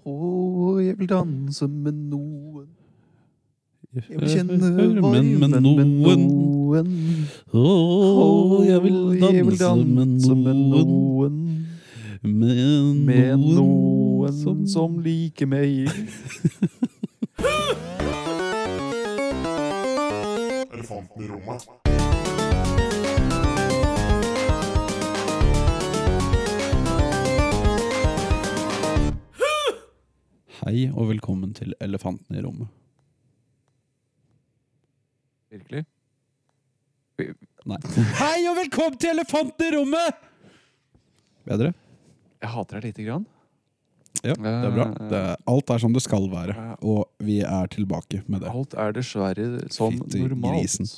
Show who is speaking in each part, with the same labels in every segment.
Speaker 1: Å, jeg vil danse med noen. Jeg vil kjenne varmen
Speaker 2: med
Speaker 1: med
Speaker 2: noen.
Speaker 1: noen.
Speaker 2: Å, jeg vil
Speaker 1: jeg vil
Speaker 2: danse med noen.
Speaker 1: Med noen som, som liker meg.
Speaker 3: Elefanten i rommet.
Speaker 2: Hei, og velkommen til Elefanten i rommet.
Speaker 1: Virkelig?
Speaker 2: Nei. Hei, og velkommen til Elefanten i rommet! Bedre?
Speaker 1: Jeg hater deg lite grann.
Speaker 2: Ja, det er bra. Det, er- alt er som det skal være, og vi er tilbake med det.
Speaker 1: Alt er dessverre som
Speaker 2: Fytti
Speaker 1: normalt.
Speaker 2: grisen.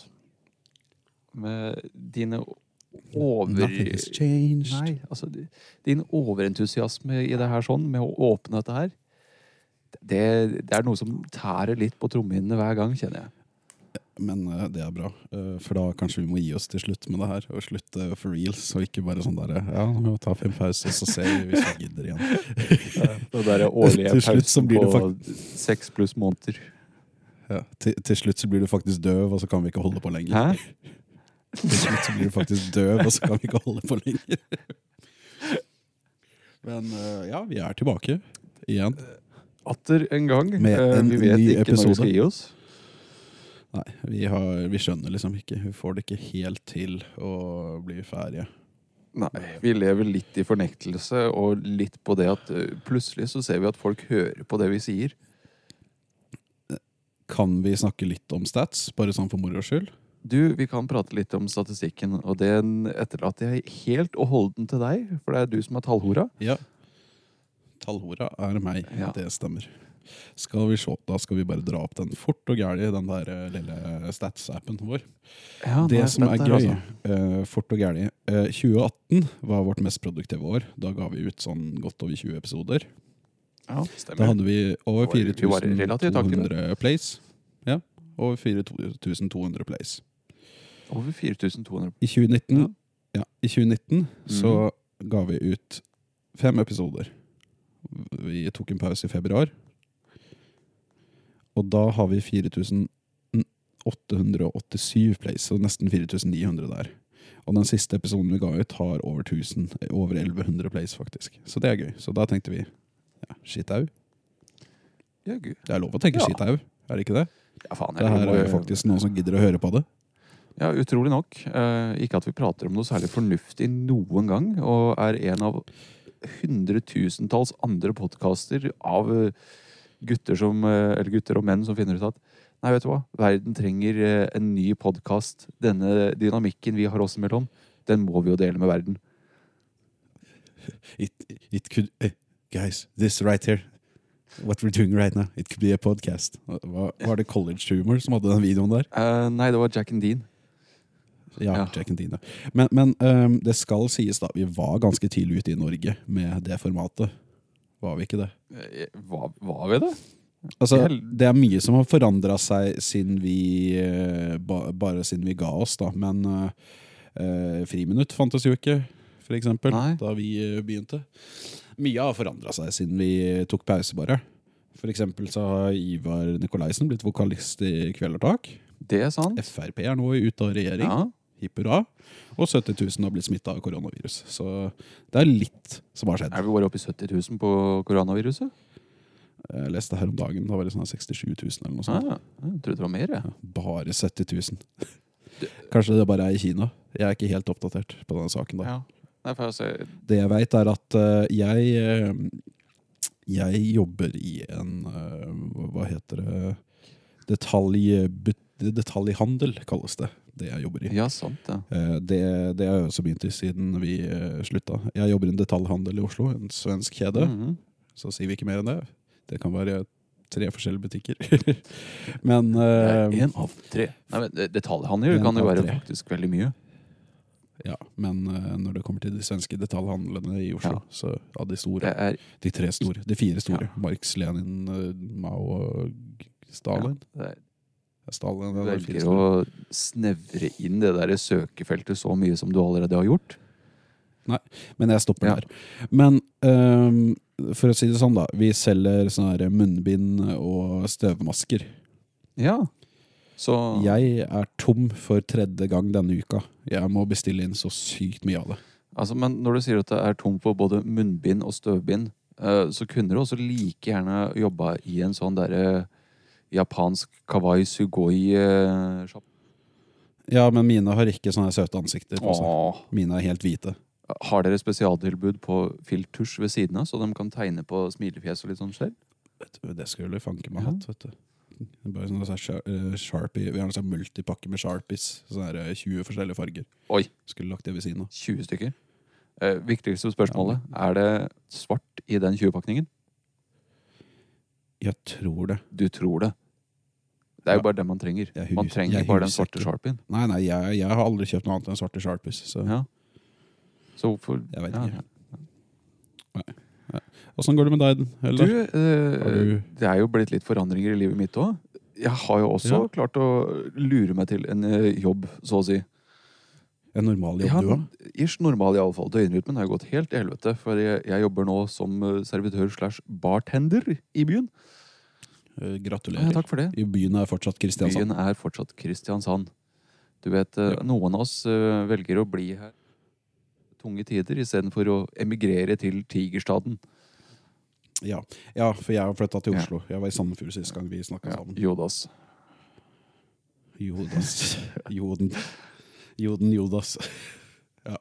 Speaker 1: Med dine
Speaker 2: Nothing
Speaker 1: over...
Speaker 2: has changed.
Speaker 1: Nei, altså di- din overentusiasme i det her sånn, med å åpne dette her, det, det er noe som tærer litt på trommehinnene hver gang, kjenner jeg.
Speaker 2: Men eh, det er bra, eh, for da kanskje vi må gi oss til slutt med det her. Og slutte for reals, og ikke bare sånn derre Ja, nå må vi ta fem pauser, så ser vi hvis vi gidder igjen.
Speaker 1: Det derre
Speaker 2: årlige
Speaker 1: årlige
Speaker 2: Til slutt så
Speaker 1: pausen
Speaker 2: pausen blir
Speaker 1: på
Speaker 2: det
Speaker 1: seks pluss måneder.
Speaker 2: Ja. Til, til slutt så blir du faktisk døv, og så kan vi ikke holde på lenger.
Speaker 1: Hæ?
Speaker 2: Til slutt så blir du faktisk døv, og så kan vi ikke holde på lenger. Men eh, ja, vi er tilbake igjen.
Speaker 1: Atter en gang.
Speaker 2: Med
Speaker 1: Eh,
Speaker 2: en
Speaker 1: vi vet
Speaker 2: ny
Speaker 1: ikke når
Speaker 2: episode.
Speaker 1: vi skal gi oss.
Speaker 2: Nei, vi, har, vi skjønner liksom ikke. Vi får det ikke helt til å bli ferdige.
Speaker 1: Nei, vi lever litt i fornektelse og litt på det at eh, plutselig så ser vi at folk hører på det vi sier.
Speaker 2: Kan vi snakke litt om stats, bare sånn for moro skyld?
Speaker 1: Du, vi kan prate litt om statistikken, og den etterlater jeg helt og holden til deg, for det er du som er tallhora.
Speaker 2: Ja. Tallhora er meg.
Speaker 1: Ja.
Speaker 2: Det stemmer. Skal vi se, Da skal vi bare dra opp den fort og gæli, den der eh, lille stats-appen vår.
Speaker 1: Ja, nå
Speaker 2: Det
Speaker 1: jeg
Speaker 2: som er
Speaker 1: spent her,
Speaker 2: gøy,
Speaker 1: altså.
Speaker 2: eh, fort og gæli eh, 2018 var vårt mest produktive år. Da ga vi ut sånn godt over 20 episoder.
Speaker 1: Ja,
Speaker 2: Da
Speaker 1: stemmer.
Speaker 2: hadde vi over
Speaker 1: Vi var- vi var relativt aktive.
Speaker 2: 4200 plays. Ja, over 4200 plays.
Speaker 1: Over 4200.
Speaker 2: I 2019, ja. i 2019 så ga vi ut fem episoder. Vi tok en pause i februar. Og da har vi 4887 plays, så nesten 4900 der. Og den siste episoden vi ga ut, har over 1000, eh, over 1100 plays, faktisk. Så det er gøy. Så da tenkte vi ja, skittau.
Speaker 1: Ja, gud.
Speaker 2: Det er lov å tenke
Speaker 1: Ja.
Speaker 2: skittau, er det ikke det?
Speaker 1: Ja, faen,
Speaker 2: Det
Speaker 1: jeg
Speaker 2: her
Speaker 1: må
Speaker 2: er
Speaker 1: jo-
Speaker 2: faktisk noen som gidder å høre på det.
Speaker 1: Ja, utrolig nok. Eh, ikke at vi prater om noe særlig fornuftig noen gang, og er en av hundretusentalls andre podkaster av eh, gutter som eh, Eller gutter og menn som finner ut at Nei, vet du hva? Verden trenger eh, en ny podkast. Denne dynamikken vi har oss imellom, den må vi jo dele med verden.
Speaker 2: it it could eh, guys this right here what we're doing right now it could be a podcast Hva, var det college humor som hadde den videoen der
Speaker 1: Eh, nei, det var Jack and Dean.
Speaker 2: ja,
Speaker 1: Ja.
Speaker 2: Jack and Dean, ja. men, men ehm, det skal sies da vi var ganske tidlig ute i Norge med det formatet var vi ikke det
Speaker 1: Eh, Var, var vi det?
Speaker 2: altså
Speaker 1: Hel-
Speaker 2: det er mye som har forandret seg siden vi eh, ba, bare siden vi ga oss da men eh, eh, friminutt fantes jo ikke for eksempel
Speaker 1: Nei.
Speaker 2: da vi eh, begynte mye har forandret seg siden vi tok pause bare for eksempel så har Ivar Nikolaisen blitt vokalist i Kveldertak
Speaker 1: Det er sant.
Speaker 2: FRP er nå ute av regjering
Speaker 1: Ja.
Speaker 2: hipp hurra og 70 000 har blitt smittet av koronavirus så det er litt som har skjedd
Speaker 1: Er vi bare oppe i 70 000 på koronaviruset?
Speaker 2: jeg leste her om dagen, da var det sånn 67 000 eller noe sånt
Speaker 1: Ah, jeg trodde det var mer, jeg.
Speaker 2: Bare 70 000. Kanskje det bare er i Kina. Jeg er ikke helt oppdatert på den saken. da.
Speaker 1: Ja. Nei, for jeg ser-
Speaker 2: Det jeg veit, er at eh, jeg eh, Jeg jobber i en eh, Hva heter det Detaljbut- Detaljhandel, kalles det. Det jeg jobber i.
Speaker 1: Ja, sant det.
Speaker 2: Eh, Det, det har jeg også begynt i siden vi eh, slutta. Jeg jobber i en detaljhandel i Oslo, en svensk kjede.
Speaker 1: Mhm.
Speaker 2: Så sier vi ikke mer enn det. Det kan være tre forskjellige butikker. Men eh,
Speaker 1: Én av tre. Nei, men eh, det- Detaljhandel
Speaker 2: en
Speaker 1: kan jo
Speaker 2: av
Speaker 1: være
Speaker 2: tre.
Speaker 1: faktisk veldig mye.
Speaker 2: Ja, men eh, når det kommer til de svenske detaljhandlene i Oslo,
Speaker 1: Ja.
Speaker 2: så ja, de
Speaker 1: Det
Speaker 2: store,
Speaker 1: er,
Speaker 2: de tre store, de fire store, Marx, Lenin, eh, Mao og Stalin.
Speaker 1: ja, det er
Speaker 2: Stalin
Speaker 1: Du
Speaker 2: ja, det er de fire
Speaker 1: velger
Speaker 2: store.
Speaker 1: å snevre inn det der søkefeltet så mye som du allerede har gjort.
Speaker 2: Men jeg stopper
Speaker 1: Ja.
Speaker 2: der. Men øhm, for å si det sånn, da. Vi selger sånne her munnbind og støvmasker.
Speaker 1: Ja. Så
Speaker 2: Jeg er tom for tredje gang denne uka. Jeg må bestille inn så sykt mye av det.
Speaker 1: Altså, men når du sier at det er tomt for både munnbind og støvbind, eh, så kunne du også like gjerne jobba i en sånn derre japansk eh, kawaii sugoi-sjapp.
Speaker 2: Ja, men mine har ikke sånne søte ansikter. Altså. Mine er helt hvite.
Speaker 1: Har dere spesialtilbud på filtusj ved siden av, så de kan tegne på smilefjes og litt sånn selv?
Speaker 2: Vet du, det skulle du fanke meg
Speaker 1: Ja.
Speaker 2: hatt, vet du. Det er Bare sånne sånne sha- eh, Sharpie Vi har en sånn multipakke med Sharpies. Sånne her, eh, 20 forskjellige farger.
Speaker 1: Oi.
Speaker 2: Skulle lagt det ved siden av.
Speaker 1: 20 stykker. Eh, viktigste spørsmålet er det svart i den 20-pakningen?
Speaker 2: Jeg tror det.
Speaker 1: Du tror det. Det er
Speaker 2: Ja.
Speaker 1: jo bare det man trenger.
Speaker 2: Jeg hus-
Speaker 1: Man trenger
Speaker 2: jeg
Speaker 1: bare den
Speaker 2: husker
Speaker 1: svarte
Speaker 2: ikke.
Speaker 1: sharpien.
Speaker 2: Nei, nei, jeg, jeg har aldri kjøpt noe annet enn svarte Sharpies. Så
Speaker 1: Ja. Så hvorfor
Speaker 2: jeg vet
Speaker 1: ja.
Speaker 2: ikke. Åssen går det med deg,
Speaker 1: Du,
Speaker 2: eller?
Speaker 1: eh,
Speaker 2: Har du-
Speaker 1: det er jo blitt litt forandringer i livet mitt òg. Jeg har jo også
Speaker 2: Ja.
Speaker 1: klart å lure meg til en eh, jobb, så å si.
Speaker 2: En normal jobb,
Speaker 1: Ja,
Speaker 2: du òg?
Speaker 1: Ish normal, iallfall. Døgnrytmen har gått helt til helvete. For jeg, jeg jobber nå som eh, servitør slash bartender i byen.
Speaker 2: Eh, Gratulerer.
Speaker 1: Ja, takk for det.
Speaker 2: I byen er fortsatt Kristiansand.
Speaker 1: Byen er fortsatt Kristiansand. Du vet, eh, Noen av oss eh, velger å bli her tunge tider istedenfor å emigrere til Tigerstaden.
Speaker 2: Ja. ja, for jeg har flytta til
Speaker 1: Ja.
Speaker 2: Oslo. Jeg var i Sandefjord sist gang vi snakka sammen.
Speaker 1: Jodas.
Speaker 2: Jodas. Joden. Joden Jodas. Ja.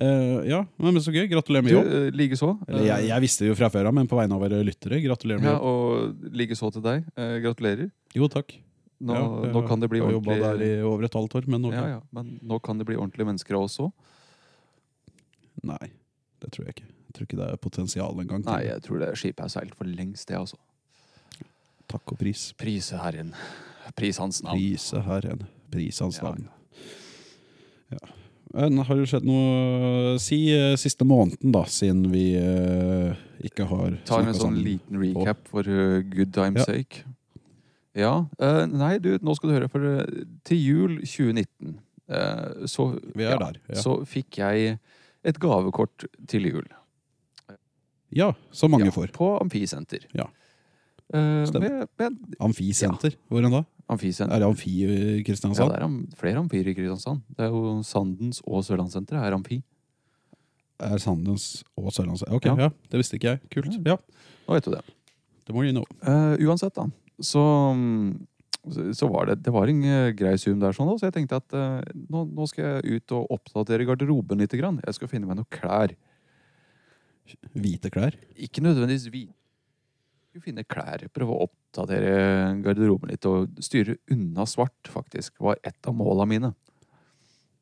Speaker 2: Eh, ja, men men så gøy. Gratulerer med jobb.
Speaker 1: Du, eh, Likeså.
Speaker 2: Eller jeg, jeg visste det jo fra før av, men på vegne av våre lyttere, gratulerer med
Speaker 1: Ja,
Speaker 2: jobb.
Speaker 1: og likeså til deg. Eh, gratulerer.
Speaker 2: Jo, takk.
Speaker 1: Nå,
Speaker 2: Ja, jeg
Speaker 1: nå kan det bli
Speaker 2: har jobba der
Speaker 1: ordentlig
Speaker 2: i over et halvt år, men ok.
Speaker 1: ja, ja, men nå kan det bli ordentlige mennesker av oss òg.
Speaker 2: Nei, det tror jeg ikke. Jeg tror ikke det er potensial engang. til
Speaker 1: Nei, jeg tror det skipet er seilt for lengst, det, altså.
Speaker 2: Takk og pris.
Speaker 1: Prise Herren. Pris hans navn.
Speaker 2: Prise Herren. Pris hans
Speaker 1: Ja,
Speaker 2: navn. Ja. Men har det skjedd noe Si eh, siste måneden, da, siden vi eh, ikke har
Speaker 1: tar en
Speaker 2: snakket
Speaker 1: sånn
Speaker 2: sammen.
Speaker 1: liten recap for uh, good time's
Speaker 2: Ja.
Speaker 1: sake. Ja. eh, nei, du, nå skal du høre. For eh, til jul 2019 eh, så,
Speaker 2: Vi er
Speaker 1: ja,
Speaker 2: der. Ja.
Speaker 1: så fikk jeg et gavekort til jul.
Speaker 2: ja, så mange
Speaker 1: Ja,
Speaker 2: får.
Speaker 1: På Amfisenter.
Speaker 2: Ja.
Speaker 1: Eh,
Speaker 2: Stemmer.
Speaker 1: med, med
Speaker 2: Amfisenter. Hvor enn da?
Speaker 1: Amfisenter.
Speaker 2: Er det Amfi i
Speaker 1: Ja,
Speaker 2: Kristiansand?
Speaker 1: det er am flere amfier i Kristiansand. Det er jo Sandens og Sørlandssenteret er amfi.
Speaker 2: er Sandens og Sørlandsøy. Ok,
Speaker 1: Ja.
Speaker 2: ja. Det visste ikke jeg. Kult. Ja,
Speaker 1: Nå vet du det.
Speaker 2: Det må du nå.
Speaker 1: Eh, uansett, da. Så, mm, så- så var det, det var en eh, grei sum der, sånn, da, så jeg tenkte at eh, nå, nå skal jeg ut og oppdatere garderoben litt. Grann. Jeg skal finne meg noen klær.
Speaker 2: Hvite klær.
Speaker 1: Ikke nødvendigvis hvite. Jeg skulle finne klær. Prøve å oppdatere garderoben litt og styre unna svart, faktisk. var et av måla mine.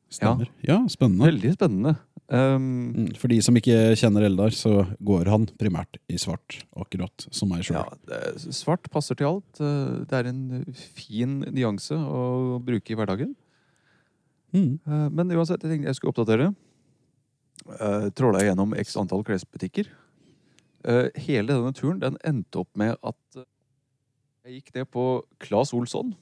Speaker 2: Stemmer. Ja, spennende.
Speaker 1: Veldig spennende. Um,
Speaker 2: Mm, For de som ikke kjenner Eldar, så går han primært i svart, akkurat som meg sjøl.
Speaker 1: Ja, det, svart passer til alt. Eh, Det er en fin nyanse å bruke i hverdagen.
Speaker 2: Mm.
Speaker 1: Eh, Men uansett, jeg tenkte jeg skulle oppdatere. Eh, Tråla jeg gjennom x antall klesbutikker. Eh, Hele denne turen den endte opp med at eh, jeg gikk ned på Claes Olsson.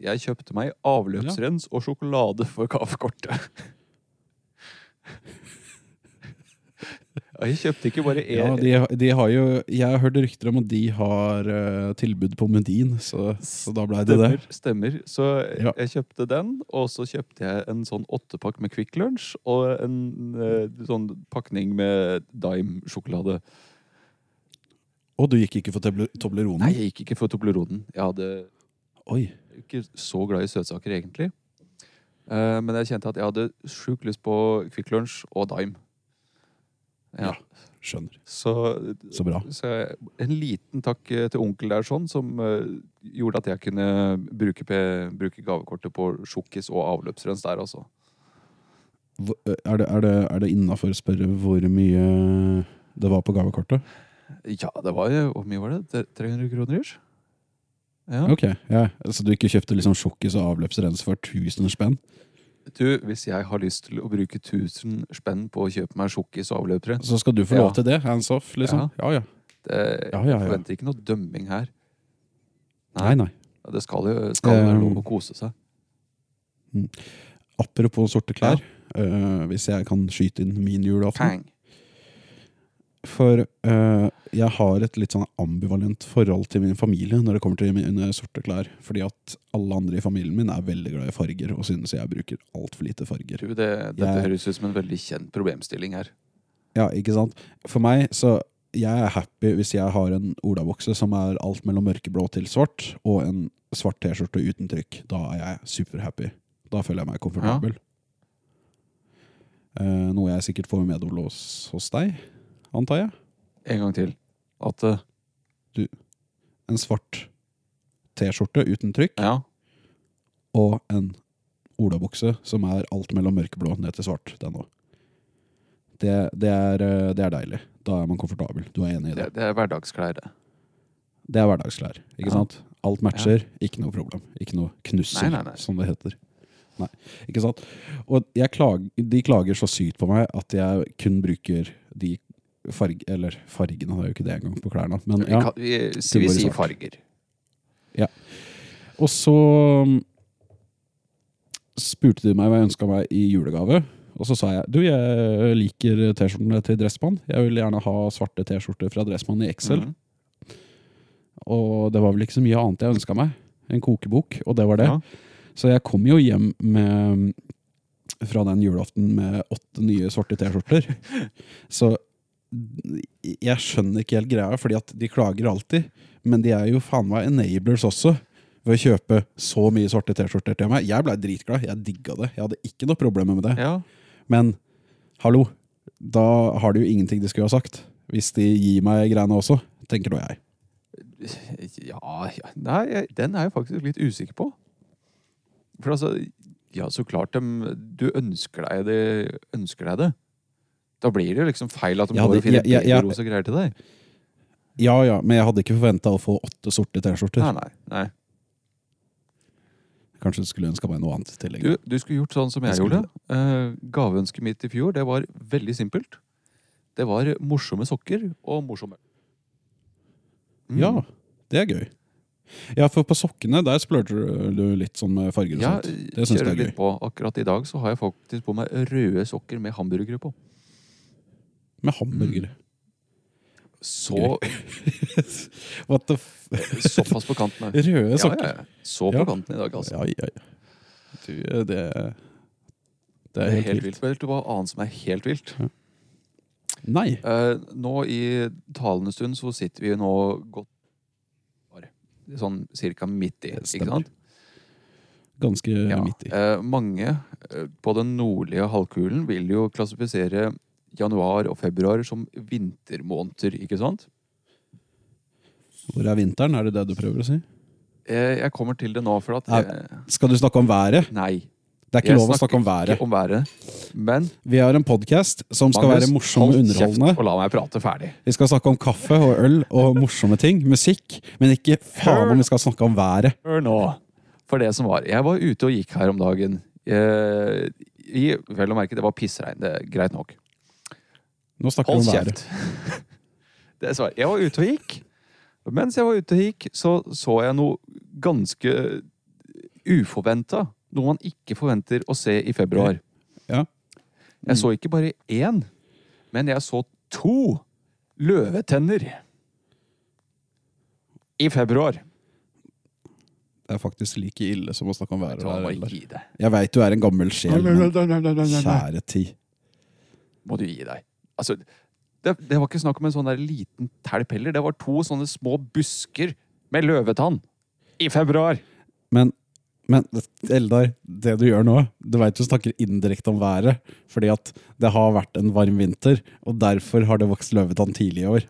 Speaker 1: Jeg kjøpte meg avløpsrens og sjokolade for kaffekortet. Ja, Jeg kjøpte ikke bare én
Speaker 2: Ja, de, de har jo Jeg har hørt rykter om at de har eh, tilbud på Medin, så, så da blei det det.
Speaker 1: Stemmer. stemmer. Så
Speaker 2: Ja.
Speaker 1: jeg kjøpte den, og så kjøpte jeg en sånn åttepakk med Quick Lunch og en eh, sånn pakning med Dime-sjokolade.
Speaker 2: Og du gikk ikke for Tobler- Toblerone?
Speaker 1: Nei, jeg gikk ikke for Tobleroden. Jeg hadde
Speaker 2: Oi.
Speaker 1: jeg er ikke så glad i søtsaker, egentlig. Eh, men jeg kjente at jeg hadde sjukt lyst på Quick Lunch og Dime. Ja.
Speaker 2: Ja. Skjønner.
Speaker 1: Så,
Speaker 2: Så bra.
Speaker 1: så jeg- en liten takk eh, til onkel der, sånn, som eh, gjorde at jeg kunne bruke, pe- bruke gavekortet på sjokkis og avløpsrens der, altså.
Speaker 2: Hvor- eh, Er det, er det, er det innafor å spørre hvor mye det var på gavekortet?
Speaker 1: Ja, det var jo Hvor mye var det? Tre- 300 kroner ish? Ja.
Speaker 2: Ok, ja. Så du ikke kjøpte liksom sjokkis og avløpsrens for 1000 spenn?
Speaker 1: Du, hvis jeg har lyst til å bruke 1000 spenn på å kjøpe meg sjokkis og avløpere
Speaker 2: Så skal du få lov
Speaker 1: Ja.
Speaker 2: til det? Hands off, liksom? Ja, ja.
Speaker 1: det,
Speaker 2: Ja, ja,
Speaker 1: Jeg
Speaker 2: ja.
Speaker 1: forventer ikke noe dømming her.
Speaker 2: Nei, nei.
Speaker 1: Ja, Det skal jo skal jo være
Speaker 2: Um,
Speaker 1: lov å kose seg.
Speaker 2: Apropos sorte klær. eh, hvis jeg kan skyte inn min julaften.
Speaker 1: Pang.
Speaker 2: For eh, jeg har et litt sånn ambivalent forhold til min familie når det kommer til mine sorte klær. Fordi at alle andre i familien min er veldig glad i farger og synes jeg bruker altfor lite farger.
Speaker 1: Du, det, dette
Speaker 2: Jeg-
Speaker 1: høres ut som en veldig kjent problemstilling her.
Speaker 2: Ja, ikke sant? For meg, så jeg er happy hvis jeg har en olabokse som er alt mellom mørkeblå til svart, og en svart T-skjorte uten trykk. Da er jeg superhappy. Da føler jeg meg komfortabel. Eh, noe jeg sikkert får medhold hos, hos deg, antar jeg.
Speaker 1: En gang til. At eh,
Speaker 2: En svart T-skjorte uten trykk,
Speaker 1: Ja.
Speaker 2: og en olabokse som er alt mellom mørkeblå ned til svart. Det, er noe. det, det, er, eh, det er deilig. Da er man komfortabel. Du er enig i det?
Speaker 1: Det, det er hverdagsklær, det.
Speaker 2: Det er hverdagsklær. ikke
Speaker 1: Ja.
Speaker 2: sant? Alt matcher, ikke noe problem. Ikke noe knusser,
Speaker 1: Nei, nei, nei.
Speaker 2: som det heter. Nei, ikke sant? Og jeg klag, de klager så sykt på meg at jeg kun bruker de farg, eller fargene, det er jo ikke det engang på klærne. Men,
Speaker 1: Vi,
Speaker 2: ja.
Speaker 1: kan, vi,
Speaker 2: går i
Speaker 1: vi sier
Speaker 2: svart.
Speaker 1: farger.
Speaker 2: Og så mm, spurte de meg hva jeg ønska meg i julegave. Og så sa jeg du, jeg liker T-skjortene til Dressmann. Jeg vil gjerne ha svarte T-skjorter fra Dressmann i XL.
Speaker 1: Mhm.
Speaker 2: Og det var vel ikke så mye annet jeg ønska meg. En kokebok, og det var det.
Speaker 1: Ja.
Speaker 2: Så jeg kom jo hjem med, fra den julaften med åtte nye svarte T-skjorter. Så jeg skjønner ikke helt greia, fordi at de klager alltid. Men de er jo faen meg enablers også, ved å kjøpe så mye svarte T-skjorter til meg. Jeg blei dritglad, jeg digga det. Jeg hadde ikke noe problemer med det.
Speaker 1: ja.
Speaker 2: Men hallo, da har de jo ingenting de skulle ha sagt. Hvis de gir meg greiene også, tenker nå jeg.
Speaker 1: Ja, ja. Nei, jeg- den er jeg faktisk litt usikker på. For altså Ja, så klart dem Du ønsker deg det. Ønsker deg det. Da blir det jo liksom feil at de
Speaker 2: Ja,
Speaker 1: går og
Speaker 2: det-
Speaker 1: finner
Speaker 2: ja, ja, ja.
Speaker 1: bedre rosa greier til deg.
Speaker 2: Ja ja, men jeg hadde ikke forventa å få åtte sorte T-skjorter.
Speaker 1: Nei, nei, nei.
Speaker 2: Kanskje du skulle ønska meg noe annet i tillegg.
Speaker 1: Du, du skulle gjort sånn som jeg
Speaker 2: Jeg skulle
Speaker 1: gjorde. Eh, gaveønsket mitt i fjor, det var veldig simpelt. Det var morsomme sokker og morsomme Mm.
Speaker 2: Ja, det er gøy. Ja, for på sokkene der splurger du litt sånn med farger og
Speaker 1: Ja,
Speaker 2: sånt. Det syns
Speaker 1: kjører
Speaker 2: jeg er
Speaker 1: litt
Speaker 2: gøy.
Speaker 1: på. Akkurat i dag så har jeg faktisk på meg røde sokker med hamburgere på.
Speaker 2: Med hamburgere.
Speaker 1: Mm. Så
Speaker 2: What the f...
Speaker 1: såpass på kanten her.
Speaker 2: Røde sokker.
Speaker 1: Ja, ja, ja. Så på
Speaker 2: Ja.
Speaker 1: kanten i dag, altså.
Speaker 2: Ja, ja, ja. Du, det Det
Speaker 1: Det er helt vilt. Vet du hva annet som er helt vilt?
Speaker 2: Nei.
Speaker 1: Eh, nå i talende stund så sitter vi nå godt bare Sånn cirka midt i,
Speaker 2: Det
Speaker 1: ikke
Speaker 2: stemmer.
Speaker 1: sant?
Speaker 2: Ganske
Speaker 1: Ja.
Speaker 2: midt i.
Speaker 1: Eh, mange eh, på den nordlige halvkulen vil jo klassifisere januar og februar som vintermåneder, ikke sant?
Speaker 2: Hvor er vinteren? Er det det du prøver å si?
Speaker 1: Eh, jeg kommer til det nå, for at
Speaker 2: Nei.
Speaker 1: eh,
Speaker 2: Skal du snakke om været?
Speaker 1: Nei.
Speaker 2: Det er
Speaker 1: Jeg
Speaker 2: ikke lov å
Speaker 1: snakker
Speaker 2: snakke om været.
Speaker 1: Ikke om været. Men
Speaker 2: Vi har en podkast som skal
Speaker 1: Magnus,
Speaker 2: være morsom og
Speaker 1: hold kjeft
Speaker 2: underholdende.
Speaker 1: Og la meg prate ferdig.
Speaker 2: Vi skal snakke om kaffe og øl og morsomme ting. Musikk. Men ikke faen om vi skal snakke om været.
Speaker 1: Hør nå. For det som var. Jeg var ute og gikk her om dagen. Eh, i, vel å merke, det var pissregn. Det er greit nok.
Speaker 2: Nå snakker vi
Speaker 1: Hold
Speaker 2: om været.
Speaker 1: kjeft. Dessverre. Jeg var ute og gikk. Mens jeg var ute og gikk, så så jeg noe ganske uforventa. Noe man ikke forventer å se i februar.
Speaker 2: Ja.
Speaker 1: Jeg så ikke bare én, men jeg så to løvetenner. I februar.
Speaker 2: Det er faktisk like ille som å snakke om været.
Speaker 1: Ta
Speaker 2: Der,
Speaker 1: meg
Speaker 2: eller?
Speaker 1: gi deg.
Speaker 2: Jeg veit du er en gammel sjel, men kjære tid.
Speaker 1: må du gi deg. Altså, det, det var ikke snakk om en sånn der liten telp heller. Det var to sånne små busker med løvetann i februar.
Speaker 2: Men, men Eldar, det du gjør nå Du veit du snakker indirekte om været, fordi at det har vært en varm vinter, og derfor har det vokst løvetann tidlig i år.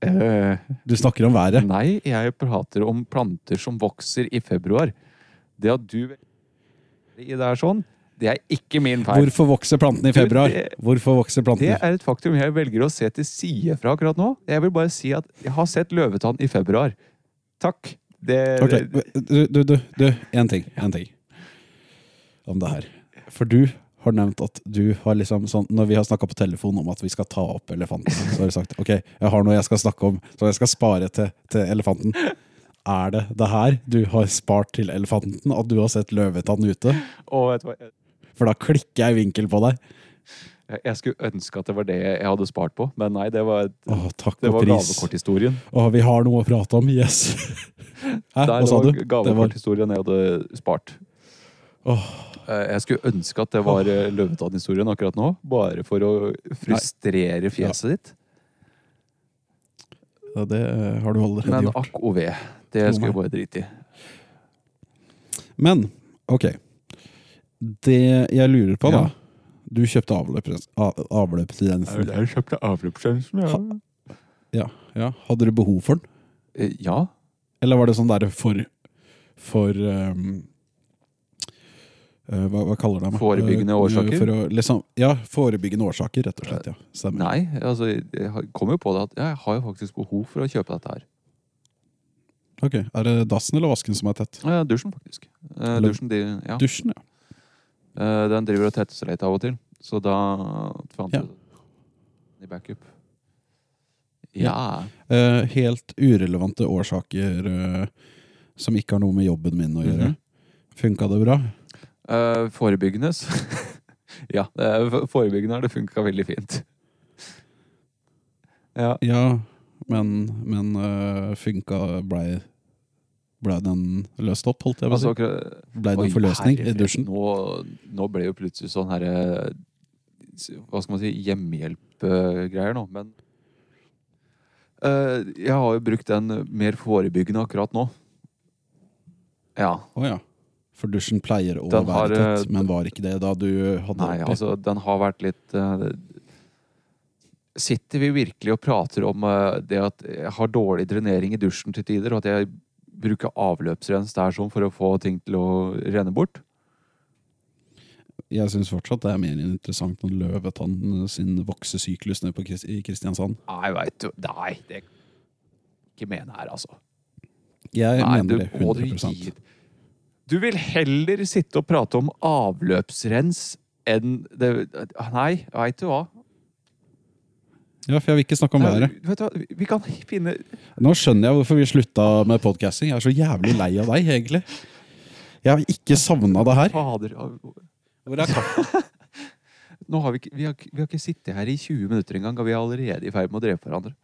Speaker 2: Du snakker om været.
Speaker 1: Eh, nei, jeg prater om planter som vokser i februar. Det at du i det er sånn, det er ikke min feil.
Speaker 2: Hvorfor vokser plantene i februar?
Speaker 1: Du, det-
Speaker 2: Hvorfor vokser
Speaker 1: Det
Speaker 2: plantene?
Speaker 1: er et faktum jeg velger å se til side fra akkurat nå. Jeg vil bare si at jeg har sett løvetann i februar. Takk. Det,
Speaker 2: Ok,
Speaker 1: det,
Speaker 2: du, du, du, du, en ting, en ting om det her. For du har nevnt at du har liksom sånn, når vi har snakket på telefon om at vi skal ta opp elefanten, så har du sagt, ok, jeg har noe jeg skal snakke om, så jeg skal spare til, til elefanten. Er det det her du har spart til elefanten, at du har sett løvetann ute?
Speaker 1: og vet du hva?
Speaker 2: For da klikker jeg i vinkel på deg.
Speaker 1: Jeg- Jeg skulle ønske at det var det jeg hadde spart på, men nei, det var,
Speaker 2: Å, takk
Speaker 1: det
Speaker 2: og
Speaker 1: var
Speaker 2: pris.
Speaker 1: gavekorthistorien.
Speaker 2: Å, vi har noe å prate om. Yes. Hæ,
Speaker 1: Der
Speaker 2: hva sa du?
Speaker 1: var
Speaker 2: Det var
Speaker 1: gavekorthistorien jeg hadde spart. Eh, Jeg skulle ønske at det var eh, Løvetann-historien akkurat nå, bare for å frustrere fjeset ditt.
Speaker 2: ja, Det eh, har du allerede
Speaker 1: Men
Speaker 2: gjort.
Speaker 1: akk og ve, det skal jeg
Speaker 2: meg.
Speaker 1: bare drite i.
Speaker 2: Men ok. Det jeg lurer på, da
Speaker 1: Ja.
Speaker 2: Du kjøpte avløps, av, avløpsrensen.
Speaker 1: Jeg kjøpte avløpsrensen,
Speaker 2: ja. Ja, ja. Hadde du behov for den?
Speaker 1: eh, Ja.
Speaker 2: Eller var det sånn der for For ehm, eh, hva, hva kaller det?
Speaker 1: Forebyggende årsaker?
Speaker 2: For å, liksom, ja, forebyggende årsaker, rett og slett. ja. Stemmer.
Speaker 1: Nei, altså, jeg har- kom jo på det at jeg har jo faktisk behov for å kjøpe dette her.
Speaker 2: Ok, Er det dassen eller vasken som er tett?
Speaker 1: Ja, dusjen, faktisk. Eh,
Speaker 2: Eller-
Speaker 1: Dusjen, de, ja.
Speaker 2: Dusjen, ja.
Speaker 1: Eh, Den driver og tetter seg litt av og til. Så da fant
Speaker 2: Ja.
Speaker 1: jeg den i backup. Ja.
Speaker 2: Eh, helt urelevante årsaker eh, som ikke har noe med jobben min å
Speaker 1: Mhm.
Speaker 2: gjøre. Funka det bra?
Speaker 1: Eh, Forebyggende så Ja, det er- forebyggende har det funka veldig fint. Ja.
Speaker 2: Ja, men, men eh, funka blei ble den løst opp, holdt jeg på å si?
Speaker 1: Altså, akkurat-
Speaker 2: Blei det
Speaker 1: Oi,
Speaker 2: en forløsning i
Speaker 1: herre fred.
Speaker 2: dusjen?
Speaker 1: Nå, nå ble jo plutselig sånn herre Hva skal man si hjemmehjelp-greier nå, men eh, Jeg har jo brukt den mer forebyggende akkurat nå. Ja.
Speaker 2: Å ja. For dusjen pleier å
Speaker 1: Den
Speaker 2: være
Speaker 1: har, eh,
Speaker 2: tett, men var ikke det da du hadde
Speaker 1: Nei,
Speaker 2: oppi?
Speaker 1: altså, den har vært litt eh, Sitter vi virkelig og prater om eh, det at jeg har dårlig drenering i dusjen til tider, og at jeg bruker avløpsrens der sånn for å få ting til å renne bort?
Speaker 2: Jeg syns fortsatt det er mer interessant enn løvetann eh, sin voksesyklus nede på Krist i Kristiansand.
Speaker 1: Nei, veit du Nei, det ikke mene her, altså.
Speaker 2: Jeg
Speaker 1: Nei,
Speaker 2: mener det
Speaker 1: må
Speaker 2: 100
Speaker 1: gi- Du vil heller sitte og prate om avløpsrens enn det Nei, veit du hva? Eh,
Speaker 2: Ja, for jeg vil ikke snakke
Speaker 1: Sånn
Speaker 2: om været.
Speaker 1: Vet du hva? Vi kan finne
Speaker 2: Nå skjønner jeg hvorfor vi slutta med podcasting. Jeg er så jævlig lei av deg, egentlig. Jeg har ikke savna det her.
Speaker 1: Fader.
Speaker 2: Hvor er kaffen?
Speaker 1: Nå har vi, ikke, vi, har, ikke- vi har ikke sittet her i 20 minutter engang, og vi er allerede i ferd med å drepe hverandre.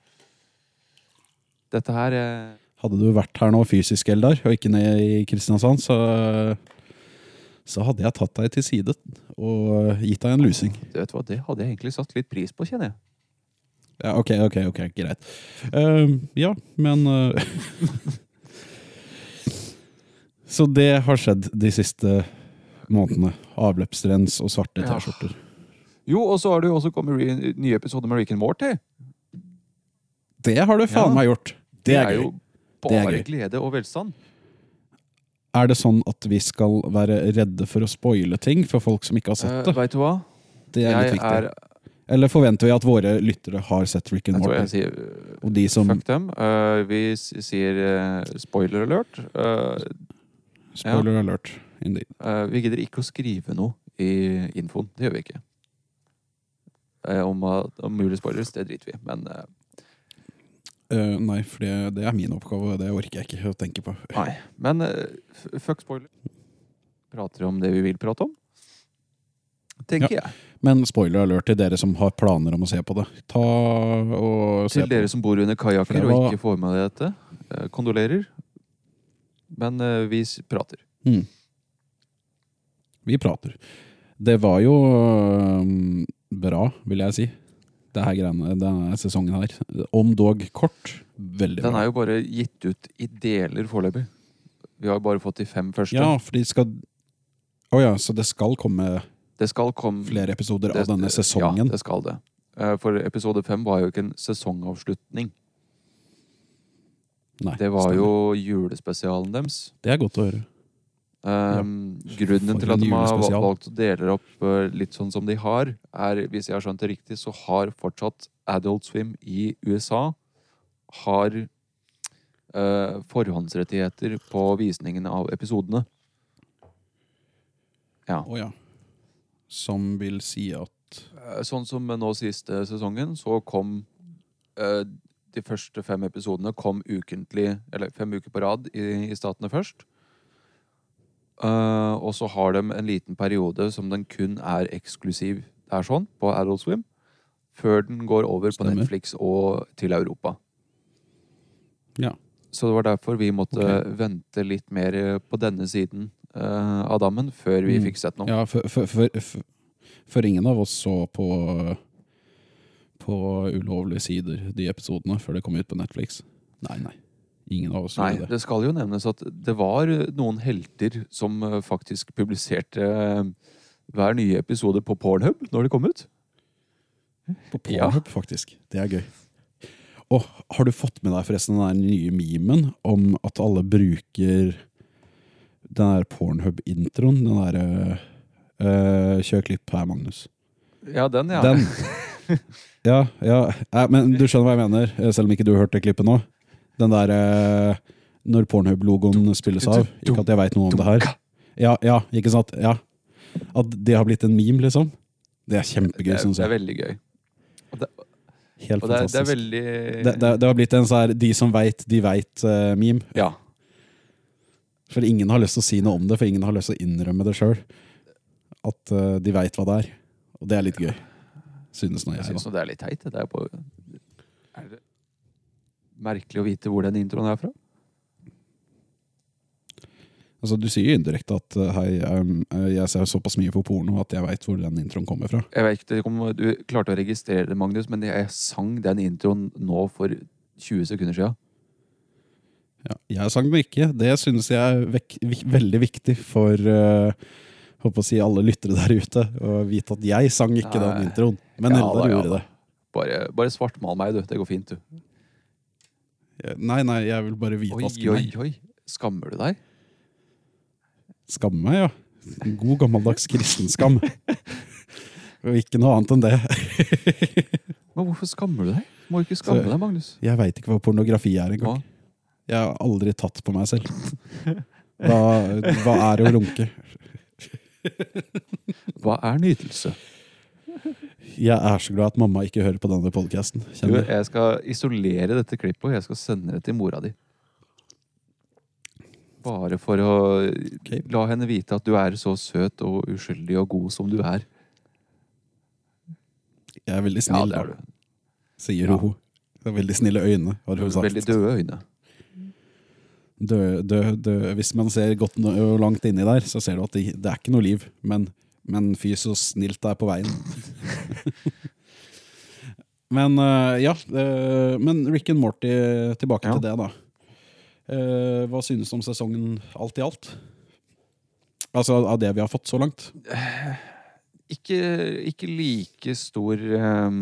Speaker 1: Dette her eh,
Speaker 2: Hadde du vært her nå fysisk, Eldar, og ikke ned i Kristiansand, så, så hadde jeg tatt deg til side og gitt deg en lusing.
Speaker 1: du vet hva, Det hadde jeg egentlig satt litt pris på, kjenner jeg.
Speaker 2: Ja, ok, ok, ok, greit. Ehm, ja, men eh, Så det har skjedd de siste månedene. Avløpsrens og svarte
Speaker 1: Ja.
Speaker 2: T-skjorter.
Speaker 1: Jo, og så har det jo også kommet re nye episoder med Rick and Morty.
Speaker 2: Det har du faen
Speaker 1: Ja.
Speaker 2: meg gjort! Det er, gøy.
Speaker 1: jo
Speaker 2: Det er
Speaker 1: bare
Speaker 2: gøy.
Speaker 1: glede og velstand.
Speaker 2: Er det sånn at vi skal være redde for å spoile ting for folk som ikke har sett
Speaker 1: Uh,
Speaker 2: det?
Speaker 1: Veit du hva?
Speaker 2: Det er litt
Speaker 1: Jeg
Speaker 2: viktig.
Speaker 1: er
Speaker 2: Eller forventer vi at våre lyttere har sett Rick and
Speaker 1: Jeg tror jeg
Speaker 2: Morty?
Speaker 1: sier
Speaker 2: Og de som
Speaker 1: fuck dem. Eh, vi s- sier eh, spoiler alert. Eh,
Speaker 2: Spoiler alert. Indeed.
Speaker 1: Eh, vi gidder ikke å skrive noe i infoen. Det gjør vi ikke. Eh, om, at- om mulige spoilers, det driter vi i. Men eh,
Speaker 2: Eh, nei, for det, det er min oppgave, og det orker jeg ikke å tenke på.
Speaker 1: nei. Men eh, f- fuck spoiler. Prater om det vi vil prate om. Tenker jeg.
Speaker 2: Men spoiler alert til dere som har planer om å se på det. Ta og se
Speaker 1: Til dere
Speaker 2: på.
Speaker 1: som bor under
Speaker 2: For det
Speaker 1: kajakker
Speaker 2: var-
Speaker 1: og ikke får med dere dette. eh, kondolerer. Men eh, vi s- prater.
Speaker 2: Mm. Vi prater. Det var jo øhm, bra, vil jeg si. Det her greiene, denne sesongen her. Om dog kort. Veldig
Speaker 1: Den
Speaker 2: bra.
Speaker 1: er jo bare gitt ut i deler foreløpig. Vi har bare fått de fem første.
Speaker 2: Ja, for de skal Å ja, så det skal komme
Speaker 1: Det skal komme
Speaker 2: flere episoder av
Speaker 1: Det-
Speaker 2: denne sesongen?
Speaker 1: Ja, det skal det. Eh, For episode fem var jo ikke en sesongavslutning.
Speaker 2: Nei,
Speaker 1: Det var
Speaker 2: stemmer.
Speaker 1: jo julespesialen deres.
Speaker 2: Det er godt å høre.
Speaker 1: Um, Grunnen
Speaker 2: for
Speaker 1: til at
Speaker 2: en
Speaker 1: de har va-
Speaker 2: julespesial.
Speaker 1: valgt å dele det opp eh, litt sånn som de har, er, hvis jeg har skjønt det riktig, så har fortsatt Adult Swim i USA har eh, forhåndsrettigheter på visningen av episodene. Ja.
Speaker 2: Å ja. Som vil si at
Speaker 1: Eh, Sånn som nå siste sesongen, så kom eh, de første fem episodene kom ukentlig, eller fem uker på rad i, i statene først. Eh, og så har de en liten periode som den kun er eksklusiv Det er sånn på Adult Swim. Før den går over
Speaker 2: Stemmer.
Speaker 1: på Netflix og til Europa.
Speaker 2: Ja.
Speaker 1: Så det var derfor vi måtte
Speaker 2: Ok.
Speaker 1: vente litt mer eh, på denne siden eh, av dammen før vi
Speaker 2: Mm.
Speaker 1: fikk sett noe.
Speaker 2: Ja, for, for, for, for, for ingen av oss så på På ulovlige sider de episodene før det kom ut på Netflix. Nei, nei. Ingen av oss
Speaker 1: Nei,
Speaker 2: gjorde det.
Speaker 1: det skal jo nevnes at det var eh, noen helter som eh, faktisk publiserte eh, hver nye episode på Pornhub når de kom ut.
Speaker 2: På
Speaker 1: Ja.
Speaker 2: Pornhub, faktisk. Det er gøy. Og har du fått med deg forresten den der nye memen om at alle bruker den der Pornhub-introen? Den derre øh, Kjør klipp her, Magnus.
Speaker 1: Ja, den, ja.
Speaker 2: Den. Ja, ja. Nei, men du skjønner hva jeg mener, eh, selv om ikke du hørte klippet nå. Den der eh, når Pornhub-logoen spilles av. Ikke at jeg veit noe om det her. Ja, ja, ikke sant? Ja. At det har blitt en meme, liksom. Det er
Speaker 1: det,
Speaker 2: kjempegøy,
Speaker 1: er,
Speaker 2: syns
Speaker 1: det er
Speaker 2: jeg.
Speaker 1: veldig gøy.
Speaker 2: Helt
Speaker 1: Og det er, det er
Speaker 2: fantastisk.
Speaker 1: veldig
Speaker 2: Det, det, det har blitt en sånn her 'de som veit, de veit'-meme.
Speaker 1: Ja.
Speaker 2: for ingen har lyst til å si noe om det, for ingen har lyst til å innrømme det sjøl. At eh, de veit hva det er. Og det er litt gøy. Synes nå
Speaker 1: Jeg
Speaker 2: jeg.
Speaker 1: syns
Speaker 2: Da.
Speaker 1: nå det er litt teit. Det er, på, er det merkelig å vite hvor den introen er fra.
Speaker 2: Altså, du sier jo indirekte at eh, 'hei, em, eh, jeg ser såpass mye på porno at jeg veit hvor den introen kommer fra'.
Speaker 1: Jeg vet ikke om du klarte å registrere det, Magnus, men jeg sang den introen nå for 20 sekunder siden.
Speaker 2: Ja, jeg sang den ikke. Det syns jeg er vek vi veldig viktig for eh, håper å si alle lyttere der ute å vite at jeg sang ikke
Speaker 1: Nei.
Speaker 2: den introen. Men
Speaker 1: Ja
Speaker 2: Eldar
Speaker 1: da, ja
Speaker 2: gjorde
Speaker 1: da.
Speaker 2: det.
Speaker 1: Bare, bare svartmal meg, du. Det går fint, du.
Speaker 2: Nei, nei, jeg vil bare
Speaker 1: Oi,
Speaker 2: hvitvaske
Speaker 1: oi,
Speaker 2: meg.
Speaker 1: oi. Skammer du deg?
Speaker 2: Skamme meg, ja. God gammeldags kristenskam. Og ikke noe annet enn det.
Speaker 1: Men hvorfor skammer du deg? Du må ikke skamme
Speaker 2: Så-
Speaker 1: deg, Magnus.
Speaker 2: Jeg veit ikke hva pornografi er engang.
Speaker 1: Hva?
Speaker 2: Jeg har aldri tatt på meg selv. Hva, hva er å runke?
Speaker 1: Hva er nytelse?
Speaker 2: Jeg er så glad at mamma ikke hører på denne podkasten.
Speaker 1: Du, jeg skal isolere dette klippet, og jeg skal sende det til mora di. Bare for å
Speaker 2: Ok.
Speaker 1: la henne vite at du er så søt og uskyldig og god som du er.
Speaker 2: Jeg er veldig snill,
Speaker 1: det er
Speaker 2: da,
Speaker 1: du.
Speaker 2: sier
Speaker 1: Ja.
Speaker 2: hun. Det er veldig snille øyne, har hun sagt.
Speaker 1: Veldig døde øyne.
Speaker 2: Dø- dø- dø- Hvis man ser godt no- og langt inni der, så ser du at det, det er ikke noe liv. Men, men fy så snilt det er på veien. men eh, ja, eh, men Rick and Morty, tilbake
Speaker 1: Ja.
Speaker 2: til det, da. Eh, hva synes du om sesongen alt i alt? Altså av det vi har fått så langt?
Speaker 1: Ikke, ikke like stor eh,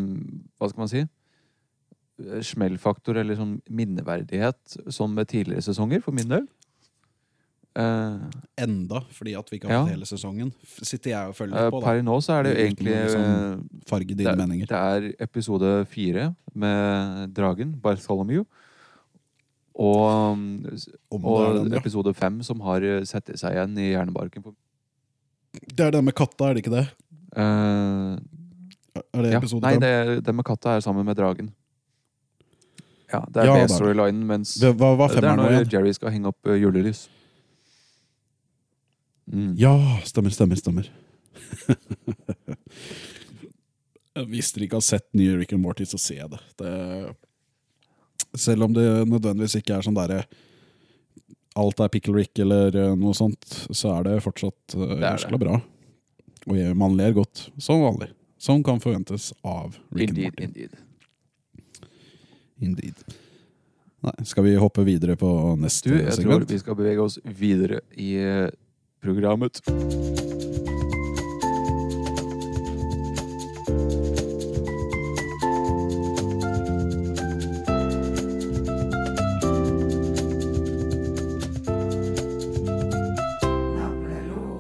Speaker 1: Hva skal man si? Smellfaktor eller sånn minneverdighet som med tidligere sesonger, for min del. Eh,
Speaker 2: Enda, fordi at vi ikke har
Speaker 1: Ja.
Speaker 2: fått hele sesongen. F- Sitter jeg og følger
Speaker 1: eh,
Speaker 2: litt på, da.
Speaker 1: per nå så er det jo
Speaker 2: Uten
Speaker 1: egentlig
Speaker 2: liksom-
Speaker 1: eh,
Speaker 2: Farge
Speaker 1: Det
Speaker 2: dine
Speaker 1: er-
Speaker 2: meninger.
Speaker 1: Det er episode fire med dragen, Bartholomew. Og, um, s-
Speaker 2: Om det, er
Speaker 1: og
Speaker 2: den, ja.
Speaker 1: episode fem som har eh, sett seg igjen i hjernebarken. på-
Speaker 2: det er den med katta, er det ikke det?
Speaker 1: Eh,
Speaker 2: Er det
Speaker 1: ja.
Speaker 2: episode
Speaker 1: Nei,
Speaker 2: fem?
Speaker 1: det, den med katta er sammen med dragen. Ja, det er ja,
Speaker 2: Ja, det er det.
Speaker 1: storylinen, mens
Speaker 2: Det- Hva var
Speaker 1: det er
Speaker 2: femmeren nå
Speaker 1: når
Speaker 2: igjen?
Speaker 1: Jerry skal henge opp eh, julelys. Mm.
Speaker 2: Ja, stemmer, stemmer, stemmer. Hvis dere ikke har sett nye Rick and Morty, så se det. det. Selv om det nødvendigvis ikke er sånn derre Alt er Pickle Rick eller eh, noe sånt, så er det fortsatt uh,
Speaker 1: det.
Speaker 2: jævla bra. Og jeg- man ler godt, som vanlig. Som kan forventes av Rick
Speaker 1: Indeed,
Speaker 2: and Morty.
Speaker 1: indeed.
Speaker 2: Indeed. Nei, skal vi hoppe videre på neste
Speaker 1: Du, jeg tror
Speaker 2: segment?
Speaker 1: vi skal bevege oss videre i eh, programmet.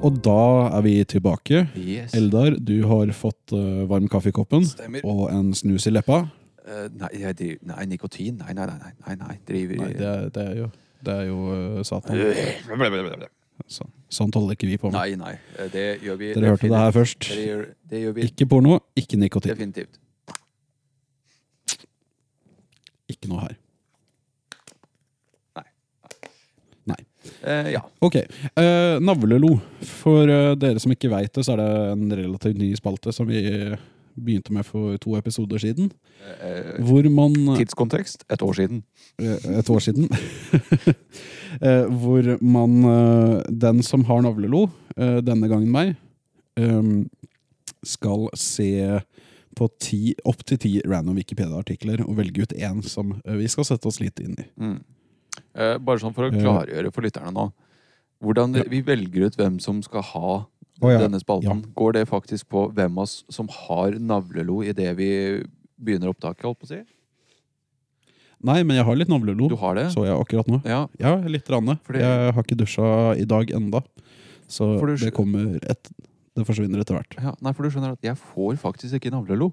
Speaker 2: Og da er vi tilbake.
Speaker 1: Yes.
Speaker 2: Eldar, du har fått eh, varm kaffe i koppen
Speaker 1: Stemmer.
Speaker 2: og en snus i leppa.
Speaker 1: Eh, nei, jeg driver, nei, nikotin? Nei, nei, nei. nei, nei, nei driver
Speaker 2: Nei, det er, det er jo, det er jo eh, satan. Så, sånt holder ikke vi på med.
Speaker 1: Nei, nei. eh, Det gjør vi.
Speaker 2: Dere hørte det her først.
Speaker 1: Dere gjør, det gjør vi
Speaker 2: Ikke porno, ikke nikotin.
Speaker 1: definitivt.
Speaker 2: Ikke noe her.
Speaker 1: Nei.
Speaker 2: Nei.
Speaker 1: Eh, ja.
Speaker 2: Ok, eh, Navlelo. For eh, dere som ikke veit det, så er det en relativt ny spalte som vi begynte med for to episoder siden.
Speaker 1: Eh,
Speaker 2: Hvor man
Speaker 1: tidskontekst et år siden.
Speaker 2: eh, Et år siden. eh, hvor man eh, Den som har navlelo, eh, denne gangen meg, eh, skal se på ti, opp til ti random Wikipedia-artikler og velge ut én som eh, vi skal sette oss litt inn i.
Speaker 1: Mm. Eh, bare sånn for å
Speaker 2: Eh.
Speaker 1: klargjøre for lytterne nå. Hvordan vi velger ut hvem som skal ha
Speaker 2: Å, ja.
Speaker 1: denne spalten.
Speaker 2: Ja.
Speaker 1: Går det faktisk på hvem av oss som har navlelo idet vi begynner opptaket? holdt på å si?
Speaker 2: Nei, men jeg har litt
Speaker 1: Du
Speaker 2: navlelo,
Speaker 1: har det?
Speaker 2: så jeg akkurat nå.
Speaker 1: Ja.
Speaker 2: Ja, litt. Ranne.
Speaker 1: Fordi-
Speaker 2: Jeg har ikke dusja i dag enda Så
Speaker 1: For du-
Speaker 2: det kommer et, Det forsvinner etter hvert.
Speaker 1: ja. Nei, for du skjønner at jeg får faktisk ikke navlelo.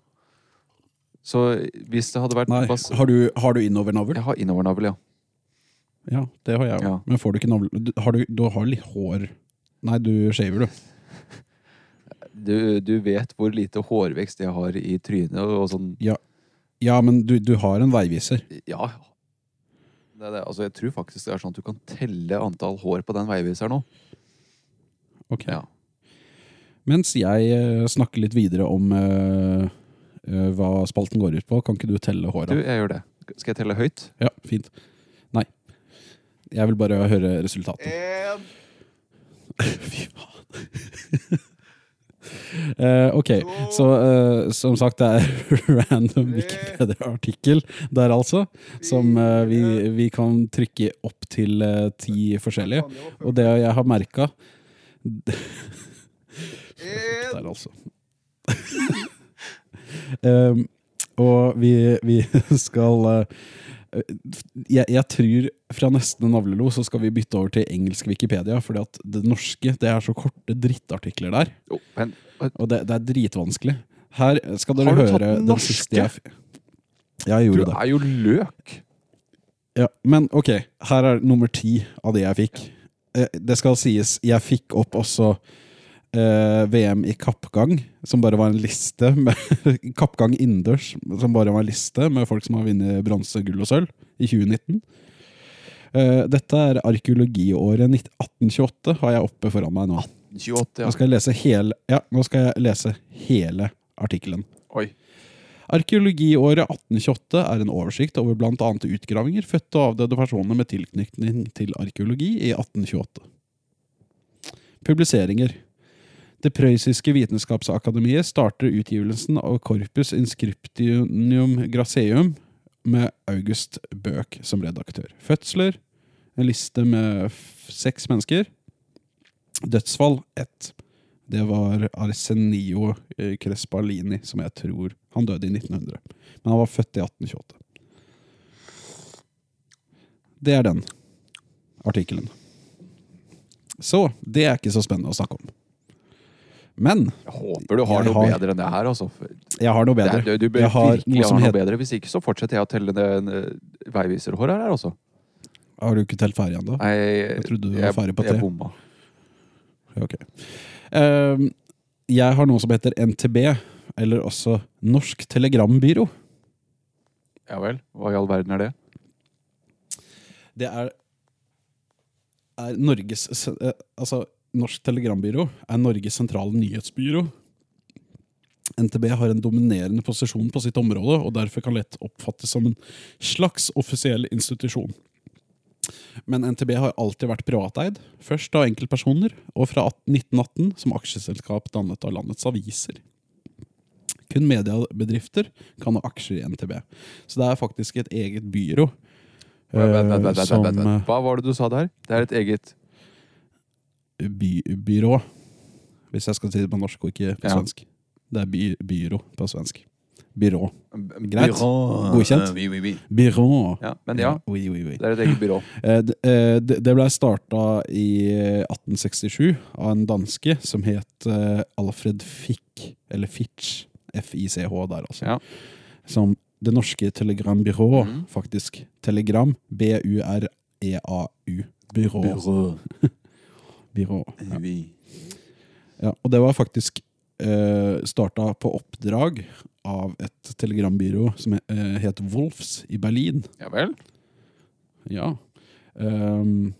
Speaker 1: Så hvis det hadde vært
Speaker 2: Nei,
Speaker 1: bas-
Speaker 2: Har du, har du innovernavl?
Speaker 1: Jeg har innovernavl, ja.
Speaker 2: Ja, det har jeg òg.
Speaker 1: Ja.
Speaker 2: Men får du ikke navle... Du, har du, du har litt hår Nei, du shaver, du.
Speaker 1: Du, du vet hvor lite hårvekst jeg har i trynet og sånn.
Speaker 2: Ja, men du, du har en veiviser.
Speaker 1: Ja. Det er det. Altså, jeg tror faktisk det er sånn at du kan telle antall hår på den veiviseren nå.
Speaker 2: Ok.
Speaker 1: Ja.
Speaker 2: Mens jeg eh, snakker litt videre om eh, eh, hva spalten går ut på, kan ikke du telle
Speaker 1: Du,
Speaker 2: håra?
Speaker 1: jeg gjør det. Skal jeg telle høyt?
Speaker 2: Ja, fint. Nei. Jeg vil bare høre resultatet.
Speaker 1: Én,
Speaker 2: Fy faen. Eh, ok, så eh, som sagt, det er random Wikipedia-artikkel der, altså. Som eh, vi, vi kan trykke opp til eh, ti forskjellige. Og det jeg har merka Der, altså. Em, og vi, vi skal eh, jeg, jeg tror fra neste navlelo så skal vi bytte over til engelsk Wikipedia, fordi at det norske det er så korte drittartikler der.
Speaker 1: Jo, men øh,
Speaker 2: Og det, det er dritvanskelig. Her skal dere
Speaker 1: Har du
Speaker 2: høre
Speaker 1: tatt den norske?
Speaker 2: siste jeg f- Ja, jeg
Speaker 1: du
Speaker 2: gjorde det.
Speaker 1: er jo løk!
Speaker 2: Ja, men ok, her er nummer ti av det jeg fikk. Eh, Det skal sies, jeg fikk opp også eh, VM i kappgang, som bare var en liste med Kappgang innendørs, som bare var en liste med folk som har vunnet bronse, gull og sølv i 2019. Eh, dette er arkeologiåret 19- 1828, har jeg oppe foran meg nå.
Speaker 1: 28,
Speaker 2: Nå
Speaker 1: ja.
Speaker 2: skal jeg lese hele, ja, nå skal jeg lese hele artikkelen.
Speaker 1: Oi.
Speaker 2: Arkeologiåret 1828 er en oversikt over bl.a. utgravinger, fødte og avdøde personer med tilknytning til arkeologi i 1828. Publiseringer Det prøyssiske vitenskapsakademiet starter utgivelsen av Corpus Inscriptionum Graceum med August Bøk som redaktør. Fødsler en liste med f- seks mennesker. Dødsfall ett. Det var Arsenio eh, Crespalini, som jeg tror Han døde i 1900. Men han var født i 1828. Det er den artikkelen. Så det er ikke så spennende å snakke om. Men
Speaker 1: Jeg håper du har
Speaker 2: Jeg
Speaker 1: noe
Speaker 2: har-
Speaker 1: bedre enn det her, altså.
Speaker 2: jeg har noe
Speaker 1: Det
Speaker 2: bedre.
Speaker 1: er, du bør
Speaker 2: jeg har
Speaker 1: virkelig
Speaker 2: noe
Speaker 1: ha
Speaker 2: som
Speaker 1: noe
Speaker 2: heter
Speaker 1: bedre. Hvis ikke, så fortsetter jeg å telle ned eh, veiviserhår her, altså.
Speaker 2: Har du ikke telt ferdig ennå?
Speaker 1: Nei,
Speaker 2: Jeg trodde du var
Speaker 1: jeg,
Speaker 2: ferdig på
Speaker 1: jeg
Speaker 2: tre.
Speaker 1: bomma.
Speaker 2: Ok. Ehm, jeg har noe som heter NTB, eller også Norsk Telegrambyrå.
Speaker 1: Ja vel. Hva i all verden er det?
Speaker 2: Det er, er Norges sen- eh, Altså, Norsk Telegrambyrå er Norges sentrale nyhetsbyrå. NTB har en dominerende posisjon på sitt område, og derfor kan lett oppfattes som en slags offisiell institusjon. Men NTB har alltid vært privateid, først av enkeltpersoner, og fra 1918 som aksjeselskap dannet av landets aviser. Kun mediebedrifter kan ha aksjer i NTB. Så det er faktisk et eget byrå.
Speaker 1: Vent, vent, vent, vent,
Speaker 2: eh,
Speaker 1: vent, vent,
Speaker 2: som, eh,
Speaker 1: vent. Hva var det du sa der? Det er et eget
Speaker 2: by, byrå. Hvis jeg skal si det på norsk og ikke på
Speaker 1: Ja.
Speaker 2: svensk. Det er by, byrå på svensk. Byrå.
Speaker 1: Greit.
Speaker 2: Godkjent. Byrå.
Speaker 1: Ja, men ja,
Speaker 2: Oui, oui, oui.
Speaker 1: det er et eget byrå.
Speaker 2: Eh, d- eh, Det det ble starta i 1867 av en danske som het eh, Alfred Fick, eller Fitch, F-I-C-H der altså,
Speaker 1: Ja.
Speaker 2: som det norske telegrambyrået,
Speaker 1: Mhm.
Speaker 2: faktisk. Telegram, B-U-R-E-A-U, E byrå. byrå. Ja. Ja, og det var faktisk eh, starta på oppdrag av et telegrambyrå som eh, het Wolfs i Berlin.
Speaker 1: Ja vel.
Speaker 2: Ja. Ehm,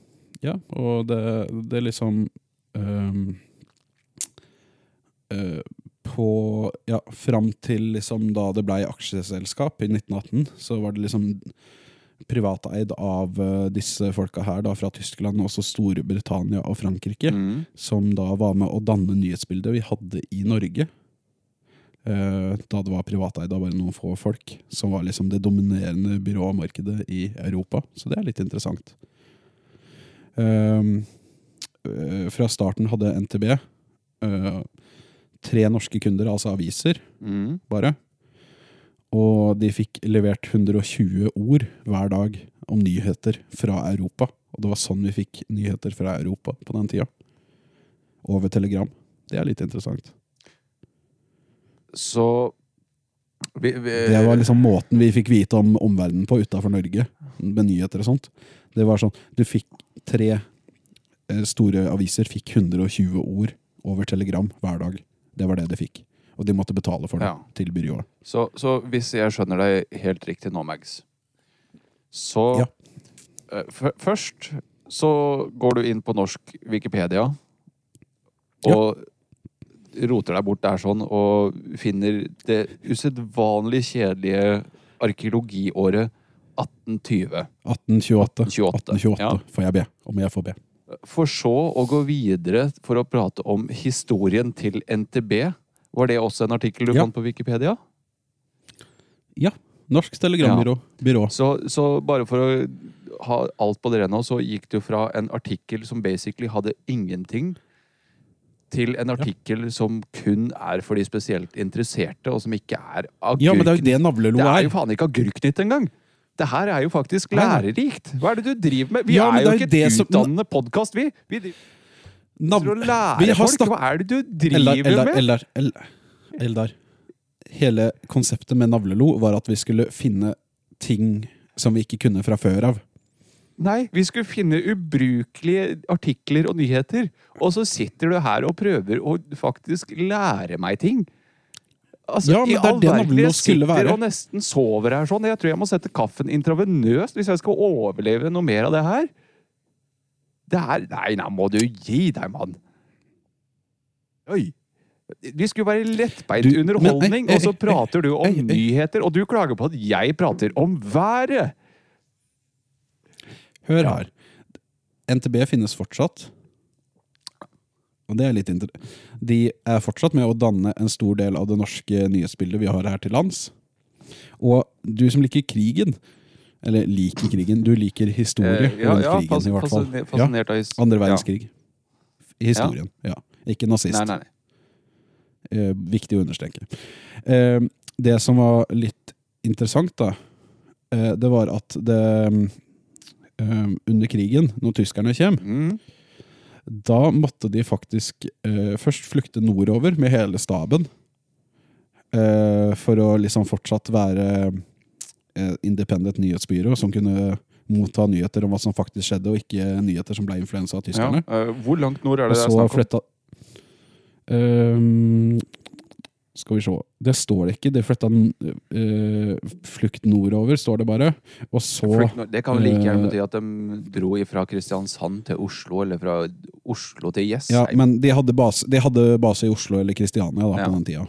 Speaker 2: Ja, og det, det er liksom ehm, eh, På Ja, fram til liksom da det blei aksjeselskap i 1918, så var det liksom privateid av eh, disse folka her da, fra Tyskland og også Storbritannia og Frankrike,
Speaker 1: Mm.
Speaker 2: som da var med å danne nyhetsbildet vi hadde i Norge. eh, Da det var privateid av bare noen få folk, som var liksom det dominerende byråmarkedet i Europa. Så det er litt interessant. Ehm, eh, fra starten hadde NTB eh, tre norske kunder, altså aviser,
Speaker 1: Mm.
Speaker 2: bare. Og de fikk levert 120 ord hver dag om nyheter fra Europa. Og det var sånn vi fikk nyheter fra Europa på den tida. Over telegram. Det er litt interessant.
Speaker 1: Så vi, vi,
Speaker 2: Det var liksom måten vi fikk vite om omverdenen på utafor Norge, med nyheter og sånt. Det var sånn, du fikk tre eh, store aviser, fikk 120 ord over telegram hver dag. Det var det de fikk. Og de måtte betale for det
Speaker 1: Ja.
Speaker 2: til byrået.
Speaker 1: Så, så hvis jeg skjønner deg helt riktig nå, Mags Så
Speaker 2: Ja.
Speaker 1: eh, f- Først så går du inn på norsk Wikipedia og roter deg bort der sånn og finner det usedvanlig kjedelige arkeologiåret 1820.
Speaker 2: 1828.
Speaker 1: 1828,
Speaker 2: 1828
Speaker 1: ja.
Speaker 2: får jeg be, om jeg får be.
Speaker 1: For så å gå videre for å prate om historien til NTB. Var det også en artikkel du
Speaker 2: Ja.
Speaker 1: fant på Wikipedia?
Speaker 2: Ja. Norsk telegrambyrå. Byrå.
Speaker 1: Så, så bare for å ha alt på det rene, så gikk du fra en artikkel som basically hadde ingenting, til en artikkel som kun er for de spesielt interesserte, og som ikke er agurknytt.
Speaker 2: Ja, men det er jo det navlelo
Speaker 1: Det er
Speaker 2: er.
Speaker 1: jo faen ikke agurknytt engang! Det her er jo faktisk
Speaker 2: Nei, nei.
Speaker 1: lærerikt! Hva er det du driver med? Vi
Speaker 2: Ja, men
Speaker 1: er jo
Speaker 2: det er
Speaker 1: ikke
Speaker 2: jo det
Speaker 1: et
Speaker 2: som-
Speaker 1: utdannende podkast, vi! Vi driver
Speaker 2: Nav
Speaker 1: for å lære folk!
Speaker 2: snakket-
Speaker 1: Hva er det du driver
Speaker 2: Eldar, Eldar,
Speaker 1: med?
Speaker 2: Eldar, Eldar, Eldar. Hele konseptet med navlelo var at vi skulle finne ting som vi ikke kunne fra før av.
Speaker 1: Nei, vi skulle finne ubrukelige artikler og nyheter. Og så sitter du her og prøver å faktisk lære meg ting. Altså,
Speaker 2: Ja, men
Speaker 1: i
Speaker 2: det er
Speaker 1: all
Speaker 2: det
Speaker 1: verden,
Speaker 2: navlen nå
Speaker 1: jeg
Speaker 2: skulle
Speaker 1: sitter
Speaker 2: være.
Speaker 1: og nesten sover her sånn. Jeg tror jeg må sette kaffen intravenøst hvis jeg skal overleve noe mer av det her. Det her Nei, nå må du gi deg, mann. Oi. Vi skulle være lettbeint
Speaker 2: Du- men-
Speaker 1: underholdning,
Speaker 2: ei, ei,
Speaker 1: og så
Speaker 2: ei,
Speaker 1: prater du om
Speaker 2: ei, ei.
Speaker 1: nyheter, og du klager på at jeg prater om været!
Speaker 2: Hør her. NTB finnes fortsatt. Og det er litt inter... De er fortsatt med å danne en stor del av det norske nyhetsbildet vi har her til lands. Og du som liker krigen, eller liker krigen, du liker historie
Speaker 1: Eh, ja,
Speaker 2: rundt
Speaker 1: ja,
Speaker 2: krigen i
Speaker 1: fas-
Speaker 2: hvert fall.
Speaker 1: fascine-
Speaker 2: Ja,
Speaker 1: Fascinert av his-
Speaker 2: andre
Speaker 1: ja.
Speaker 2: verdenskrig. Historien, ja. Ikke nazist.
Speaker 1: Nei, nei, nei.
Speaker 2: Eh, viktig å understreke. Eh, det som var litt interessant, da, eh, det var at det eh, Under krigen, når tyskerne kommer,
Speaker 1: Mm.
Speaker 2: da måtte de faktisk eh, først flykte nordover med hele staben. Eh, for å liksom fortsatt være eh, independent nyhetsbyrå som kunne motta nyheter om hva som faktisk skjedde, og ikke nyheter som ble influensa av
Speaker 1: Ja.
Speaker 2: tyskerne.
Speaker 1: eh, hvor langt nord er det
Speaker 2: Og
Speaker 1: det er
Speaker 2: så
Speaker 1: snakk om?
Speaker 2: flytta Ehm, Skal vi se Det står det ikke. Det flytta uh, flukt nordover, står det bare. Og så
Speaker 1: Flykt nord- Det kan vel like gjerne
Speaker 2: eh,
Speaker 1: bety at de dro ifra Kristiansand til Oslo, eller fra Oslo til
Speaker 2: Ja,
Speaker 1: Jessheim.
Speaker 2: men de hadde, base, de hadde base i Oslo eller Kristiania da,
Speaker 1: Ja.
Speaker 2: på den tida.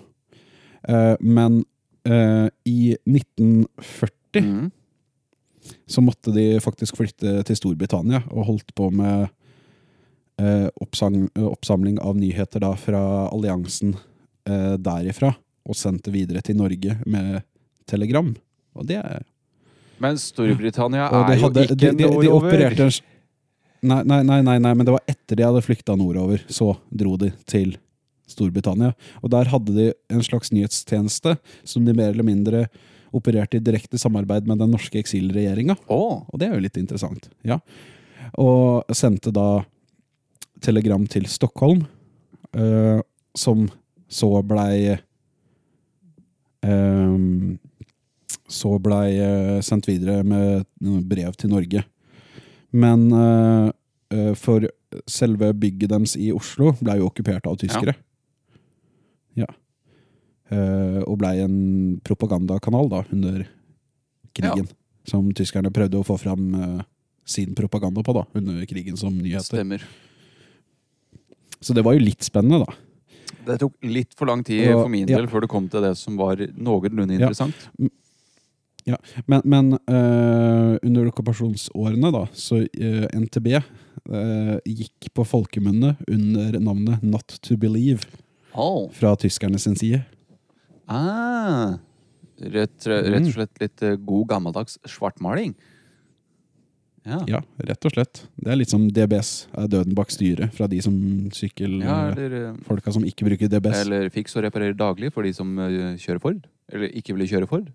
Speaker 2: Eh, men eh, i 1940
Speaker 1: Mm.
Speaker 2: så måtte de faktisk flytte til Storbritannia og holdt på med eh, oppsang, eh, oppsamling av nyheter da fra alliansen eh, derifra, og sendt det videre til Norge med telegram. Og det er
Speaker 1: Men Storbritannia
Speaker 2: og de
Speaker 1: er jo
Speaker 2: hadde,
Speaker 1: ikke
Speaker 2: de, de, de
Speaker 1: nordover.
Speaker 2: opererte en s- nei, nei, nei, nei, nei, men det var etter de hadde flykta nordover. Så dro de til Storbritannia. Og der hadde de en slags nyhetstjeneste som de mer eller mindre opererte i direkte samarbeid med den norske eksilregjeringa.
Speaker 1: Å,
Speaker 2: Og det er jo litt interessant. Ja. Og sendte da telegram til Stockholm, eh, som så blei eh, Så blei eh, sendt videre med noen brev til Norge. Men eh, eh, for selve bygget deres i Oslo blei jo okkupert av tyskere. Ja. Eh, og blei en propagandakanal, da, under krigen som tyskerne prøvde å få fram eh, sin propaganda på da, under krigen som nyheter.
Speaker 1: Stemmer.
Speaker 2: Så det var jo litt spennende, da.
Speaker 1: Det tok litt for lang tid
Speaker 2: Det var-
Speaker 1: for min
Speaker 2: ja.
Speaker 1: del før det kom til det som var noenlunde
Speaker 2: Ja.
Speaker 1: interessant.
Speaker 2: Men, men eh, under okkupasjonsårene, da, så eh, NTB eh, gikk på folkemunne under navnet Not to Believe
Speaker 1: Oh.
Speaker 2: fra tyskerne sin side.
Speaker 1: Ah. Rett, rett
Speaker 2: Mm.
Speaker 1: og slett litt eh, god gammeldags svartmaling. Ja.
Speaker 2: Ja, rett og slett. Det er litt som DBS er døden bak styret fra de som sykkel...
Speaker 1: ja
Speaker 2: eh,
Speaker 1: eller, eh,
Speaker 2: Folka som ikke bruker DBS.
Speaker 1: eller fiks og reparer daglig for de som eh, kjører Ford. Eller ikke vil kjøre Ford.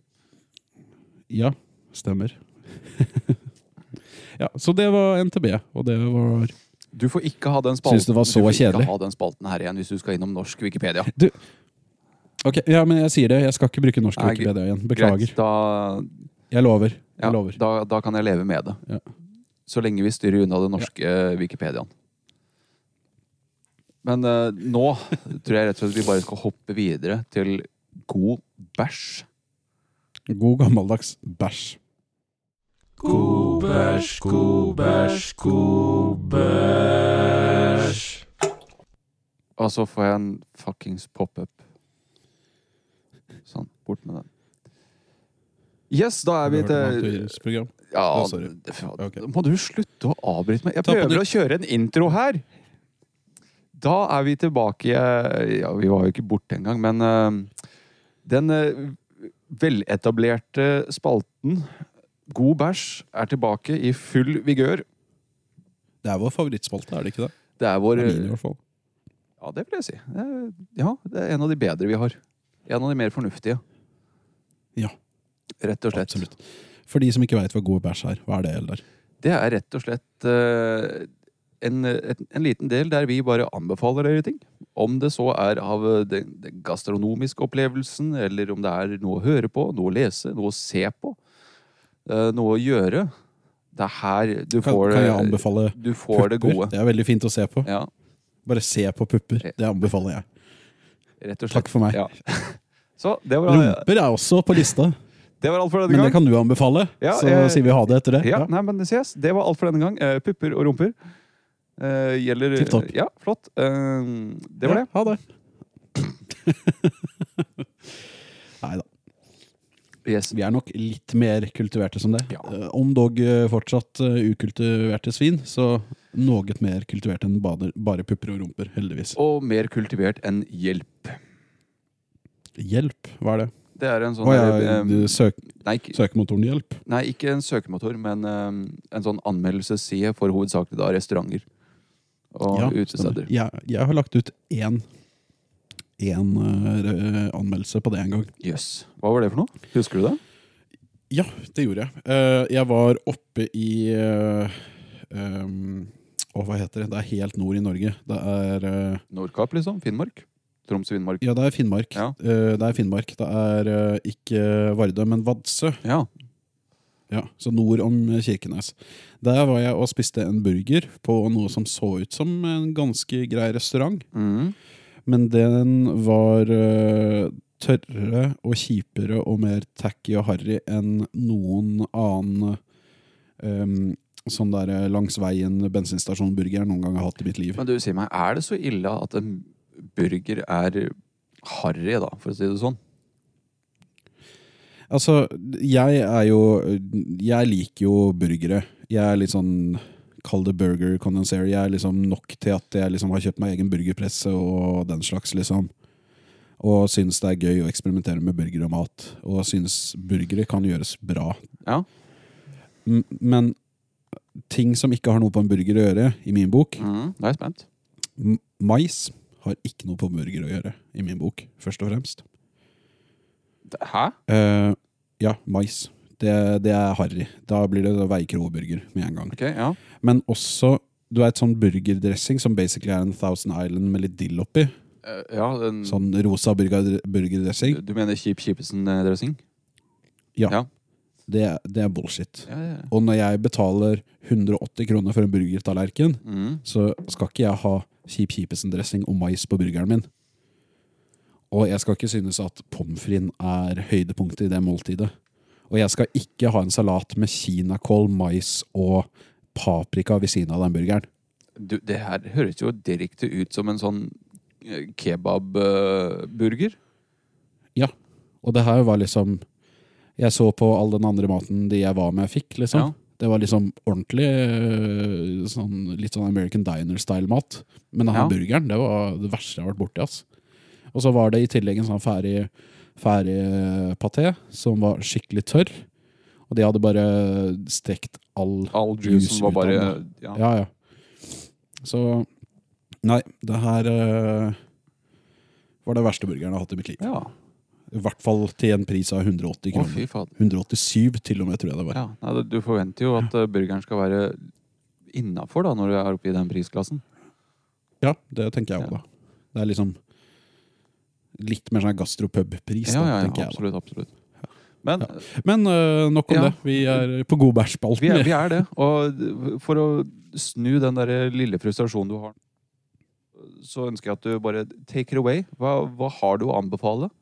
Speaker 2: Ja, stemmer. ja, så det var NTB, og det var
Speaker 1: Du får ikke ha den spalten,
Speaker 2: Synes det var så
Speaker 1: du får ikke
Speaker 2: kjedelig.
Speaker 1: ha den spalten her igjen hvis du skal innom norsk Wikipedia.
Speaker 2: Ok, ja, men jeg sier det. Jeg skal ikke bruke norsk
Speaker 1: Nei,
Speaker 2: Wikipedia igjen. Beklager.
Speaker 1: Greit, da,
Speaker 2: Jeg lover.
Speaker 1: ja,
Speaker 2: Jeg lover.
Speaker 1: Da, da kan jeg leve med det.
Speaker 2: Ja.
Speaker 1: Så lenge vi styrer unna den norske eh, Wikipediaen. Men eh, nå tror jeg rett og slett vi bare skal hoppe videre til god bæsj.
Speaker 2: God gammeldags bæsj.
Speaker 1: Og så får jeg en fuckings pop-up. Sånn. Bort med den. Yes, da er vi til
Speaker 2: Virusprogram.
Speaker 1: Ja,
Speaker 2: Å, sorry.
Speaker 1: det- faen,
Speaker 2: Ok.
Speaker 1: Må du slutte å avbryte meg? Jeg
Speaker 2: Ta på
Speaker 1: prøver
Speaker 2: nytt.
Speaker 1: å kjøre en intro her! Da er vi tilbake eh, Ja, vi var jo ikke borte engang, men eh, den eh, veletablerte spalten God bæsj er tilbake i full vigør.
Speaker 2: Det er vår favorittspalte, er det ikke det?
Speaker 1: Det er
Speaker 2: Det
Speaker 1: vår
Speaker 2: er min i hvert fall.
Speaker 1: Ja, det vil jeg si. Det er- Ja, det er en av de bedre vi har. En av de mer fornuftige.
Speaker 2: Ja.
Speaker 1: Rett og slett.
Speaker 2: Absolutt. For de som ikke veit hva god bæsj er, hva er det, Eldar?
Speaker 1: Det er rett og slett eh, en, et, en liten del der vi bare anbefaler dere ting. Om det så er av eh, den, den gastronomiske opplevelsen, eller om det er noe å høre på, noe å lese, noe å se på, eh, noe å gjøre. Det er her du
Speaker 2: Kan,
Speaker 1: får,
Speaker 2: kan jeg
Speaker 1: det-
Speaker 2: anbefale
Speaker 1: du får
Speaker 2: pupper?
Speaker 1: det gode.
Speaker 2: Det er veldig fint å se på.
Speaker 1: Ja,
Speaker 2: Bare se på pupper. Det anbefaler jeg.
Speaker 1: rett og slett.
Speaker 2: Takk for meg.
Speaker 1: Ja. Så det var,
Speaker 2: Rumper er også på lista,
Speaker 1: det var alt for denne
Speaker 2: men det
Speaker 1: gang.
Speaker 2: kan du anbefale.
Speaker 1: Ja,
Speaker 2: Så
Speaker 1: eh,
Speaker 2: sier vi ha det etter det.
Speaker 1: Ja,
Speaker 2: Ja.
Speaker 1: nei, men det ses. Det var alt for denne gang. Eh, pupper og rumper. Eh, gjelder
Speaker 2: Tipp topp.
Speaker 1: Ja, flott. Eh, det var
Speaker 2: Ja,
Speaker 1: det.
Speaker 2: Ha det. Nei da.
Speaker 1: Yes.
Speaker 2: Vi er nok litt mer kultiverte som det.
Speaker 1: Ja.
Speaker 2: Eh, Om dog eh, fortsatt eh, ukultiverte svin, så noe mer kultivert enn bader, bare pupper og rumper, heldigvis.
Speaker 1: Og mer kultivert enn hjelp.
Speaker 2: Hjelp, hva er det?
Speaker 1: Det er en sånn
Speaker 2: Å ja,
Speaker 1: eh,
Speaker 2: du, søk,
Speaker 1: nei, ikke-
Speaker 2: søkemotoren hjelp.
Speaker 1: nei, ikke en søkemotor, men eh, en sånn anmeldelsesside for hovedsakelig da restauranter og
Speaker 2: Ja,
Speaker 1: utesteder.
Speaker 2: Jeg, jeg har lagt ut én, én eh, re- anmeldelse på det en gang.
Speaker 1: Jøss. Hva var det for noe? Husker du det?
Speaker 2: Ja, det gjorde jeg. Eh, jeg var oppe i eh, um, Å, hva heter det? Det er helt nord i Norge. Det er eh,
Speaker 1: Nordkapp, liksom? Finnmark? Troms-Finnmark?
Speaker 2: Ja, det er Finnmark.
Speaker 1: Ja.
Speaker 2: Eh, det er Finnmark. Det er eh, ikke Vardø, men Vadsø.
Speaker 1: Ja.
Speaker 2: Ja, så nord om Kirkenes. Der var jeg og spiste en burger på noe som så ut som en ganske grei restaurant.
Speaker 1: Mhm.
Speaker 2: Men den var eh, tørre og kjipere og mer tacky og harry enn noen annen eh, sånn der eh, langs veien bensinstasjon-burger jeg noen gang har hatt i mitt liv.
Speaker 1: Men du, si meg, er det så ille at en burger er harry, da, for å si det sånn?
Speaker 2: Altså, jeg er jo Jeg liker jo burgere. Jeg er litt sånn Kall det burger condenser. Jeg er liksom nok til at jeg liksom har kjøpt meg egen burgerpresse og den slags, liksom. Og syns det er gøy å eksperimentere med burger og mat. Og syns burgere kan gjøres bra.
Speaker 1: Ja.
Speaker 2: M- Men ting som ikke har noe på en burger å gjøre, i min bok
Speaker 1: Mhm. Da er jeg spent.
Speaker 2: m- Mais har ikke noe på burger å gjøre, i min bok, først og fremst.
Speaker 1: Hæ?
Speaker 2: Eh, ja, mais. Det, det er harry. Da blir det veikroburger med en gang.
Speaker 1: Ok, ja.
Speaker 2: Men også du er et sånn burgerdressing som basically er en Thousand Island med litt dill oppi.
Speaker 1: Eh, ja den,
Speaker 2: Sånn rosa burger, burgerdressing.
Speaker 1: Du mener Kjip eh, Kjipesen-dressing?
Speaker 2: Det, det er bullshit.
Speaker 1: Ja, ja. ja.
Speaker 2: Og når jeg betaler 180 kroner for en burgertallerken,
Speaker 1: Mhm.
Speaker 2: så skal ikke jeg ha Kjip Kjipesen-dressing og mais på burgeren min. Og jeg skal ikke synes at pommes frites er høydepunktet i det måltidet. Og jeg skal ikke ha en salat med kinakål, mais og paprika ved siden av den burgeren.
Speaker 1: Du, det her høres jo direkte ut som en sånn eh, kebabburger.
Speaker 2: Ja. Og det her var liksom Jeg så på all den andre maten de jeg var med, fikk, liksom.
Speaker 1: Ja.
Speaker 2: Det var liksom ordentlig øh, sånn, litt sånn American Diner-style-mat. Men denne
Speaker 1: Ja.
Speaker 2: burgeren, det var det verste jeg har vært borti. ass. Og så var det i tillegg en sånn ferdig, ferdig øh, paté som var skikkelig tørr. Og de hadde bare stekt all
Speaker 1: All juicen
Speaker 2: Juice
Speaker 1: var bare
Speaker 2: uten
Speaker 1: ja.
Speaker 2: Ja, ja. Så Nei, det her øh, var den verste burgeren jeg har hatt i mitt liv.
Speaker 1: ja.
Speaker 2: I hvert fall til en pris av 180
Speaker 1: Å,
Speaker 2: kroner.
Speaker 1: fy fader.
Speaker 2: 187 til og med, tror jeg det var.
Speaker 1: Ja. Nei, du- du forventer jo at eh, burgeren skal være innafor når du er oppe i den prisklassen.
Speaker 2: Ja, det tenker jeg òg,
Speaker 1: Ja.
Speaker 2: da. Det er liksom litt mer sånn gastropub-pris,
Speaker 1: Ja,
Speaker 2: da,
Speaker 1: ja, ja
Speaker 2: tenker jeg.
Speaker 1: absolutt. absolutt. Men
Speaker 2: da. Men øh, nok om
Speaker 1: Ja.
Speaker 2: det. Vi er på god bæsjspalten.
Speaker 1: vi er, vi er det. Og for å snu den der lille frustrasjonen du har, så ønsker jeg at du bare take it away. Hva, hva har du å anbefale?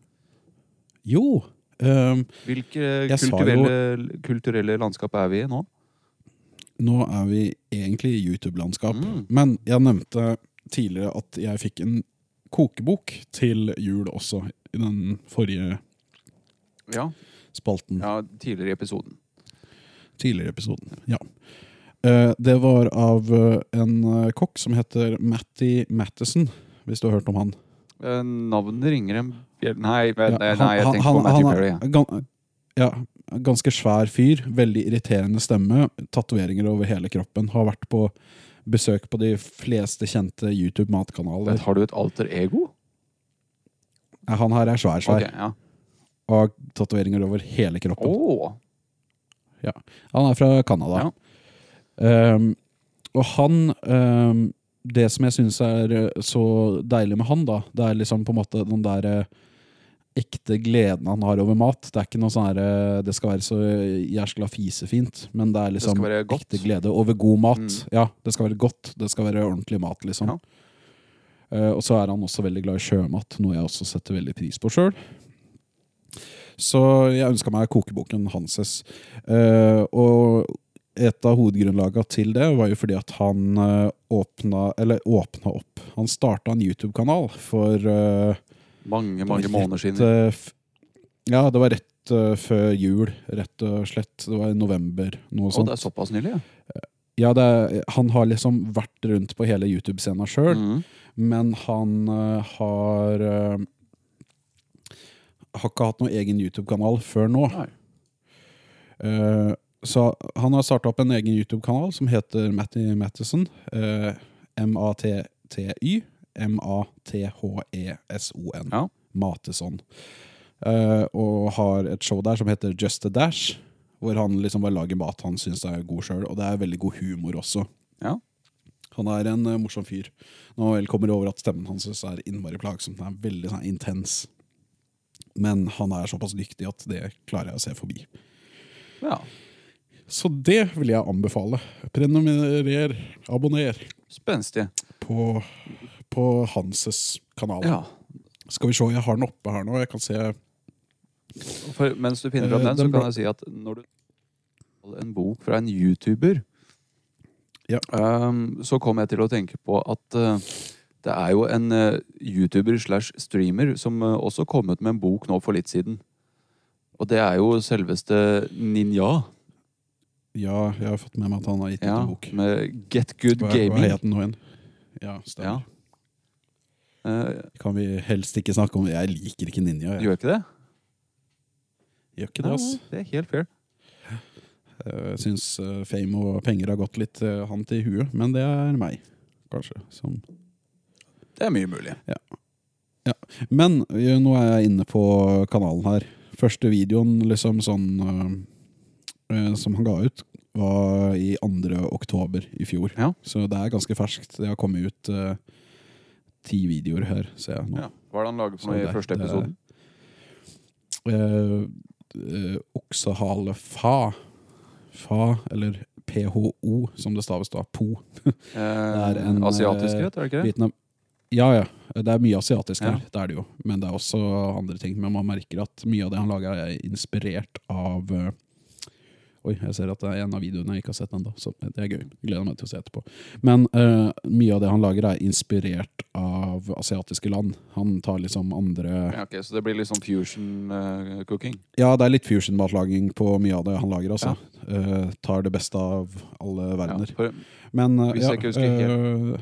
Speaker 2: Jo. øhm,
Speaker 1: Hvilke
Speaker 2: Jeg sa jo-
Speaker 1: kulturelle, kulturelle landskap er vi i nå?
Speaker 2: nå er vi egentlig i YouTube-landskap.
Speaker 1: Mm.
Speaker 2: Men jeg nevnte tidligere at jeg fikk en kokebok til jul også, i den forrige
Speaker 1: Ja,
Speaker 2: spalten.
Speaker 1: ja tidligere i episoden.
Speaker 2: Tidligere i episoden, ja. Eh, Det var av eh, en eh, kokk som heter Matty Mattison, hvis du har hørt om han.
Speaker 1: Eh, Navnet ringer en bjell... Nei,
Speaker 2: Ja,
Speaker 1: men- Eh, nei,
Speaker 2: han-
Speaker 1: nei, jeg
Speaker 2: han-
Speaker 1: tenker
Speaker 2: han-
Speaker 1: på Matthew
Speaker 2: han er
Speaker 1: Perry. jeg.
Speaker 2: gan- Ja, en ganske svær fyr, veldig irriterende stemme, tatoveringer over hele kroppen. Har vært på besøk på de fleste kjente
Speaker 1: Men
Speaker 2: YouTube-matkanaler.
Speaker 1: Har du et alter ego?
Speaker 2: Eh, Han her er svær, svær.
Speaker 1: Ok, ja.
Speaker 2: Og har tatoveringer over hele kroppen.
Speaker 1: Åh,
Speaker 2: Han er fra Canada. Um, og han um, Det som jeg syns er uh, så deilig med han, da, det er liksom på en måte den der uh, ekte gleden han har over mat. Det er ikke noe sånn her uh, Det skal være så jæskla fisefint, men det er liksom
Speaker 1: skal være godt.
Speaker 2: ekte glede over god mat.
Speaker 1: Mm.
Speaker 2: Ja, det skal være godt. Det skal være ordentlig mat, liksom.
Speaker 1: Ja.
Speaker 2: Uh, og så er han også veldig glad i sjømat, noe jeg også setter veldig pris på sjøl. Så jeg ønska meg kokeboken Hanses. Eh, og et av hovedgrunnlaga til det var jo fordi at han eh, åpna, eller åpna opp Han starta en YouTube-kanal for eh,
Speaker 1: mange, mange
Speaker 2: rett,
Speaker 1: måneder siden.
Speaker 2: eh, f- ja, det var rett eh, før jul, rett og slett. Det var i november, noe
Speaker 1: Og
Speaker 2: sånt.
Speaker 1: det er såpass nylig, ja.
Speaker 2: ja, det er, han har liksom vært rundt på hele YouTube-scena sjøl.
Speaker 1: Mhm.
Speaker 2: Men han eh, har eh, Har ikke hatt noen egen YouTube-kanal før nå.
Speaker 1: Nei.
Speaker 2: Eh, så han har starta opp en egen YouTube-kanal som heter Matty Mattison. eh, M-A-T-T-Y. E M-A-T-H-E-S-O-N.
Speaker 1: Ja.
Speaker 2: Mateson. Eh, og har et show der som heter Just a Dash. Hvor han liksom bare lager mat han syns er god sjøl. Og det er veldig god humor også.
Speaker 1: Ja.
Speaker 2: Han er en eh, morsom fyr. Nå vel kommer det over at stemmen hans er innmari plagsom. Den er veldig sånn, intens. Men han er såpass dyktig at det klarer jeg å se forbi.
Speaker 1: ja.
Speaker 2: Så det vil jeg anbefale. Prenumerer, abonner
Speaker 1: Spenstig.
Speaker 2: på, på Hanses kanal.
Speaker 1: Ja.
Speaker 2: Skal vi se, jeg har den oppe her nå. Jeg kan se
Speaker 1: For mens du finner fram
Speaker 2: Eh,
Speaker 1: den, så
Speaker 2: den
Speaker 1: kan
Speaker 2: bra-
Speaker 1: jeg si at når du får en bok fra en YouTuber,
Speaker 2: Ja.
Speaker 1: ehm, så kom jeg til å tenke på at eh, det er jo en eh, YouTuber slash streamer som eh, også kom ut med en bok nå for litt siden. Og det er jo selveste Ninja,
Speaker 2: Ja, jeg har fått med meg at han har gitt ut
Speaker 1: ja,
Speaker 2: en bok.
Speaker 1: med Get Good
Speaker 2: Hva, hva
Speaker 1: Gaming.
Speaker 2: het den nå igjen? Ja,
Speaker 1: ja.
Speaker 2: stemmer.
Speaker 1: Eh,
Speaker 2: Kan vi helst ikke snakke om Jeg liker ikke ninja. Jeg
Speaker 1: gjør ikke det?
Speaker 2: gjør ikke det, ass.
Speaker 1: Nei, det er helt fair.
Speaker 2: Jeg Eh, syns fame og penger har gått litt eh, han til huet, men det er meg, kanskje. Som.
Speaker 1: Det er mye mulig.
Speaker 2: Men eh, nå er jeg inne på kanalen her. Første videoen liksom sånn eh, eh, som han ga ut, var i 2. oktober i fjor.
Speaker 1: Ja.
Speaker 2: Så det er ganske ferskt. Det har kommet ut eh, ti videoer her, ser jeg nå.
Speaker 1: Ja. Hva er det han lager
Speaker 2: Så
Speaker 1: for noe i
Speaker 2: Sånn det-
Speaker 1: første
Speaker 2: det er-
Speaker 1: episoden?
Speaker 2: Eh, eh, oksehale fa. Fa, eller PHO, som det staves da. Po.
Speaker 1: Eh,
Speaker 2: det er en,
Speaker 1: asiatisk
Speaker 2: eh,
Speaker 1: rett, er det ikke det?
Speaker 2: Vietnam Ja, ja. Det er mye asiatisk her,
Speaker 1: Ja.
Speaker 2: det er det jo. Men det er også andre ting. Men man merker at mye av det han lager, er inspirert av eh, Oi, jeg ser at det er en av videoene jeg ikke har sett ennå, så det er gøy. Gleder meg til å se etterpå. Men eh, mye av det han lager, er inspirert av asiatiske land. Han tar liksom andre
Speaker 1: Ja, ok, så det blir litt sånn fusion eh, cooking.
Speaker 2: Ja, det er litt fusion-matlaging på mye av det han lager, altså. Eh, tar det beste av alle
Speaker 1: Ja,
Speaker 2: verdener.
Speaker 1: for,
Speaker 2: Men eh,
Speaker 1: Hvis
Speaker 2: ja,
Speaker 1: jeg ikke husker
Speaker 2: eh,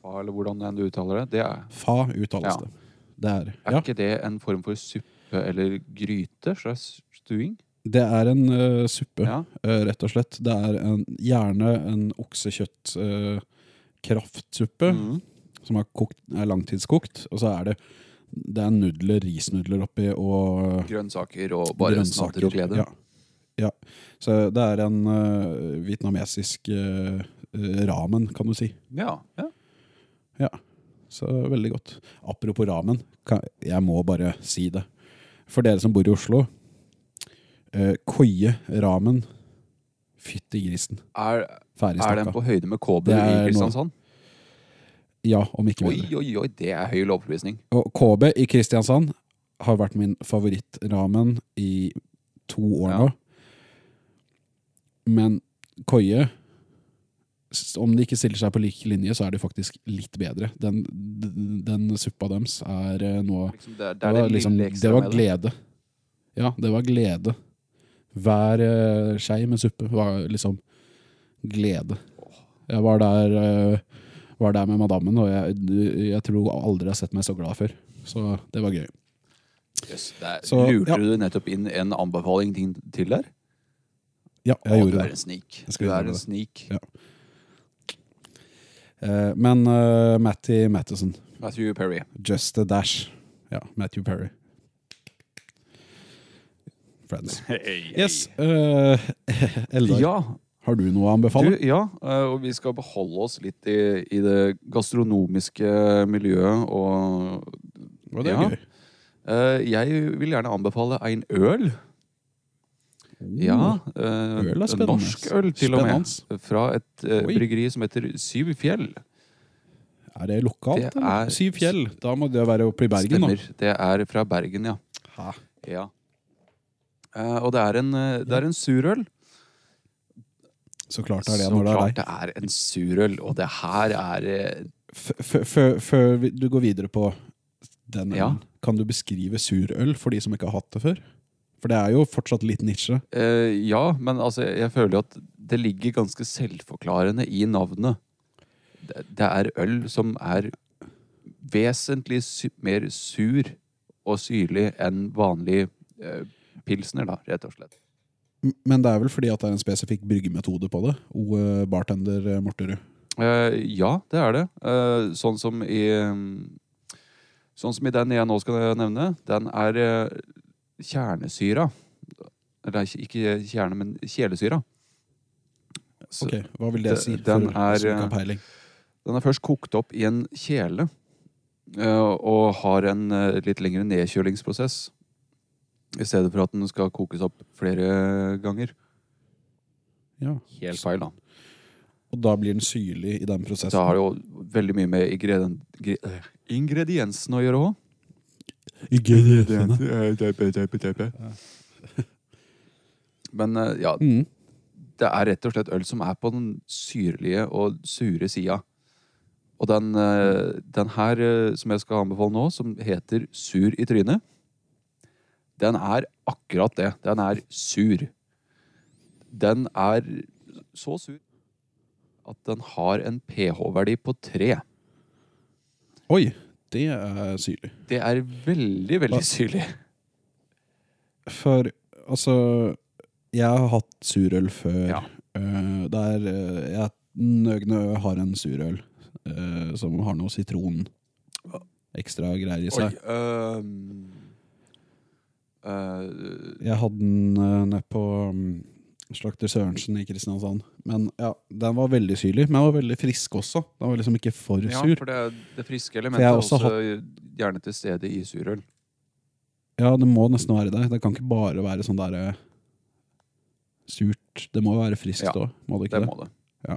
Speaker 1: fa, eller hvordan enn du uttaler det. Det er,
Speaker 2: Fa uttales
Speaker 1: Ja.
Speaker 2: det. Det er,
Speaker 1: er
Speaker 2: ja,
Speaker 1: ikke det en form for suppe eller gryte? Slags stuing?
Speaker 2: det er en eh, suppe,
Speaker 1: Ja.
Speaker 2: eh, rett og slett. Det er en, gjerne en oksekjøtt-kraftsuppe
Speaker 1: Mhm.
Speaker 2: som er, kokt, er langtidskokt. Og så er det, det er nudler, risnudler oppi, og eh,
Speaker 1: Grønnsaker og bare sånn
Speaker 2: grønnsaker.
Speaker 1: snadder og glede.
Speaker 2: Ja. ja. Så det er en eh, vietnamesisk eh, eh, ramen, kan du si.
Speaker 1: Ja, ja.
Speaker 2: Så veldig godt. Apropos ramen, kan, jeg må bare si det. For dere som bor i Oslo, eh, koie ramen Fytti grisen.
Speaker 1: Er,
Speaker 2: Ferdig
Speaker 1: er den
Speaker 2: snakka.
Speaker 1: på høyde med Kåbu
Speaker 2: Det
Speaker 1: i
Speaker 2: er noe-
Speaker 1: Kristiansand?
Speaker 2: Ja, om ikke
Speaker 1: Oi,
Speaker 2: bedre.
Speaker 1: oi, oi, det er høy lovprisning.
Speaker 2: Og KB i Kristiansand har vært min favorittramen i to år
Speaker 1: Ja.
Speaker 2: nå. Men koie s- om de ikke stiller seg på lik linje, så er de faktisk litt bedre. Den, den, den suppa deres er eh, noe
Speaker 1: Liksom det, er- det
Speaker 2: det
Speaker 1: er
Speaker 2: var,
Speaker 1: det
Speaker 2: liksom,
Speaker 1: lille ekstra
Speaker 2: det var
Speaker 1: med
Speaker 2: glede. Ja, det var glede. Hver eh, skei med suppe var liksom glede. Jeg var der, eh, var der med madammen, og jeg, jeg tror aldri jeg har sett meg så glad før. Så det var gøy.
Speaker 1: Yes, det er,
Speaker 2: Så,
Speaker 1: lurte
Speaker 2: ja.
Speaker 1: du nettopp inn en anbefaling din til der?
Speaker 2: Ja,
Speaker 1: Å,
Speaker 2: jeg
Speaker 1: du
Speaker 2: gjorde
Speaker 1: er
Speaker 2: det.
Speaker 1: en snik.
Speaker 2: Jeg skal
Speaker 1: Du er en
Speaker 2: innrømme det.
Speaker 1: snik.
Speaker 2: Ja. Eh, Men eh, Matty Mattison,
Speaker 1: Matthew Perry.
Speaker 2: Just a Dash. Ja, Matthew Perry. Friends. Yes. eh, Eldar,
Speaker 1: Ja,
Speaker 2: har du noe å
Speaker 1: du,
Speaker 2: anbefale?
Speaker 1: ja, eh, og vi skal beholde oss litt i, i det gastronomiske miljøet. Og
Speaker 2: Å, det er
Speaker 1: ja.
Speaker 2: gøy.
Speaker 1: eh, jeg vil gjerne anbefale en øl. Ja, eh,
Speaker 2: øl er
Speaker 1: en
Speaker 2: spennende.
Speaker 1: norsk øl til og med.
Speaker 2: Spennende.
Speaker 1: Fra et eh,
Speaker 2: Oi.
Speaker 1: bryggeri som heter Syv fjell.
Speaker 2: Er det lokalt,
Speaker 1: Det
Speaker 2: eller?
Speaker 1: er-
Speaker 2: Syv fjell. Da må det være oppe i Bergen,
Speaker 1: Stemmer. Det er fra Bergen, ja.
Speaker 2: da. Hæ?
Speaker 1: ja. Eh, og det er en, eh, det er en surøl.
Speaker 2: Så klart er det
Speaker 1: så
Speaker 2: når det er
Speaker 1: klart
Speaker 2: deg.
Speaker 1: det er en surøl. Og det her er eh,
Speaker 2: F- f- f- Før vi- du går videre på den ølen,
Speaker 1: Ja.
Speaker 2: kan du beskrive surøl for de som ikke har hatt det før? For det er jo fortsatt litt nisje.
Speaker 1: eh, Ja, men altså, jeg føler jo at det ligger ganske selvforklarende i navnet. Det, det er øl som er vesentlig sy mer sur og syrlig enn vanlig eh, pilsner, da, rett og slett.
Speaker 2: M- Men det er vel fordi at det er en spesifikk bryggemetode på det? O eh, bartender eh, Morterud.
Speaker 1: Eh, ja, det er det. Eh, sånn som i mm, Sånn som i den jeg nå skal nevne, den er eh, kjernesyra. Eller ikke- ikke kjerne, men kjelesyra. Så
Speaker 2: Ok, hva vil
Speaker 1: det-
Speaker 2: det si?
Speaker 1: den
Speaker 2: for oss
Speaker 1: er,
Speaker 2: som ikke har
Speaker 1: eh,
Speaker 2: peiling?
Speaker 1: Den er først kokt opp i en kjele eh, og har en eh, litt lengre nedkjølingsprosess. I stedet for at den skal kokes opp flere ganger.
Speaker 2: Ja.
Speaker 1: Helt feil, da.
Speaker 2: Og da blir den syrlig i den prosessen?
Speaker 1: Så har det jo veldig mye med ingreden, gre- eh, ingrediensene å gjøre òg.
Speaker 2: Ingrediensene.
Speaker 1: Men eh, ja,
Speaker 2: Mm.
Speaker 1: det er rett og slett øl som er på den syrlige og sure sida. Og den, eh, den her eh, som jeg skal anbefale nå, som heter Sur i trynet, den er akkurat det. Den er sur. Den er så sur at den har en pH-verdi på tre.
Speaker 2: Oi, det er syrlig.
Speaker 1: Det er veldig,
Speaker 2: Hva-
Speaker 1: veldig syrlig.
Speaker 2: For altså Jeg har hatt surøl før.
Speaker 1: Ja.
Speaker 2: Eh, der eh, jeg, Nøgne Ø har en surøl eh, som har noe sitron ekstra greier i seg.
Speaker 1: øhm, øh,
Speaker 2: Jeg hadde den uh, nede på mm, Slakter Sørensen i Kristiansand. Men ja, Den var veldig syrlig, men den var veldig frisk også. Den var liksom ikke for
Speaker 1: Ja,
Speaker 2: sur.
Speaker 1: for det, det friske
Speaker 2: For
Speaker 1: elementet
Speaker 2: jeg
Speaker 1: er
Speaker 2: har
Speaker 1: også,
Speaker 2: også
Speaker 1: gjerne til stede i surøl.
Speaker 2: Ja, Det må nesten være det. Det kan ikke bare være sånn der eh, surt. Det må være friskt
Speaker 1: Ja,
Speaker 2: òg, må det
Speaker 1: Det
Speaker 2: ikke det?
Speaker 1: må det.
Speaker 2: Ja.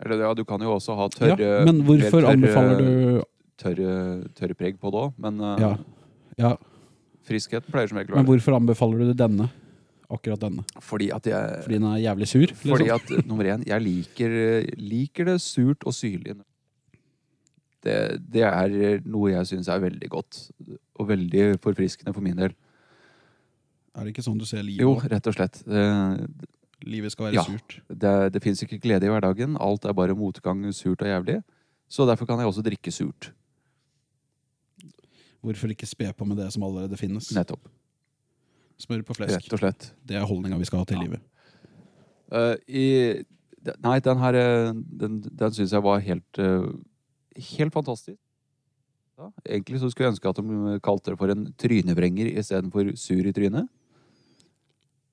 Speaker 1: Eller ja, du kan jo også ha
Speaker 2: Ja,
Speaker 1: tørre,
Speaker 2: men hvorfor
Speaker 1: mer tørre-
Speaker 2: anbefaler du
Speaker 1: tørre, tørre preg på det òg, men eh,
Speaker 2: Ja. ja.
Speaker 1: friskheten pleier som regel å
Speaker 2: Men
Speaker 1: være
Speaker 2: hvorfor anbefaler du denne? akkurat denne.
Speaker 1: Fordi at jeg
Speaker 2: Fordi den er jævlig sur. Liksom.
Speaker 1: Fordi at eh, nummer én, jeg liker, eh, liker det surt og syrlig. Det, det er eh, noe jeg syns er veldig godt. Og veldig forfriskende for min del.
Speaker 2: Er det ikke sånn du ser livet?
Speaker 1: Jo,
Speaker 2: da?
Speaker 1: rett og slett. Eh, Det,
Speaker 2: Livet skal være
Speaker 1: Ja.
Speaker 2: surt.
Speaker 1: det, det fins ikke glede i hverdagen. Alt er bare motgang, surt og jævlig. Så derfor kan jeg også drikke surt.
Speaker 2: Hvorfor ikke spe på med det som allerede finnes?
Speaker 1: Nettopp.
Speaker 2: Smør på flesk.
Speaker 1: Rett og slett.
Speaker 2: Det er holdninga vi skal ha til
Speaker 1: Ja.
Speaker 2: livet.
Speaker 1: Eh, i, de- nei, den her eh, Den, den syns jeg var helt eh, Helt fantastisk. Ja, egentlig så skulle jeg ønske at de kalte det for en trynevrenger istedenfor sur i trynet.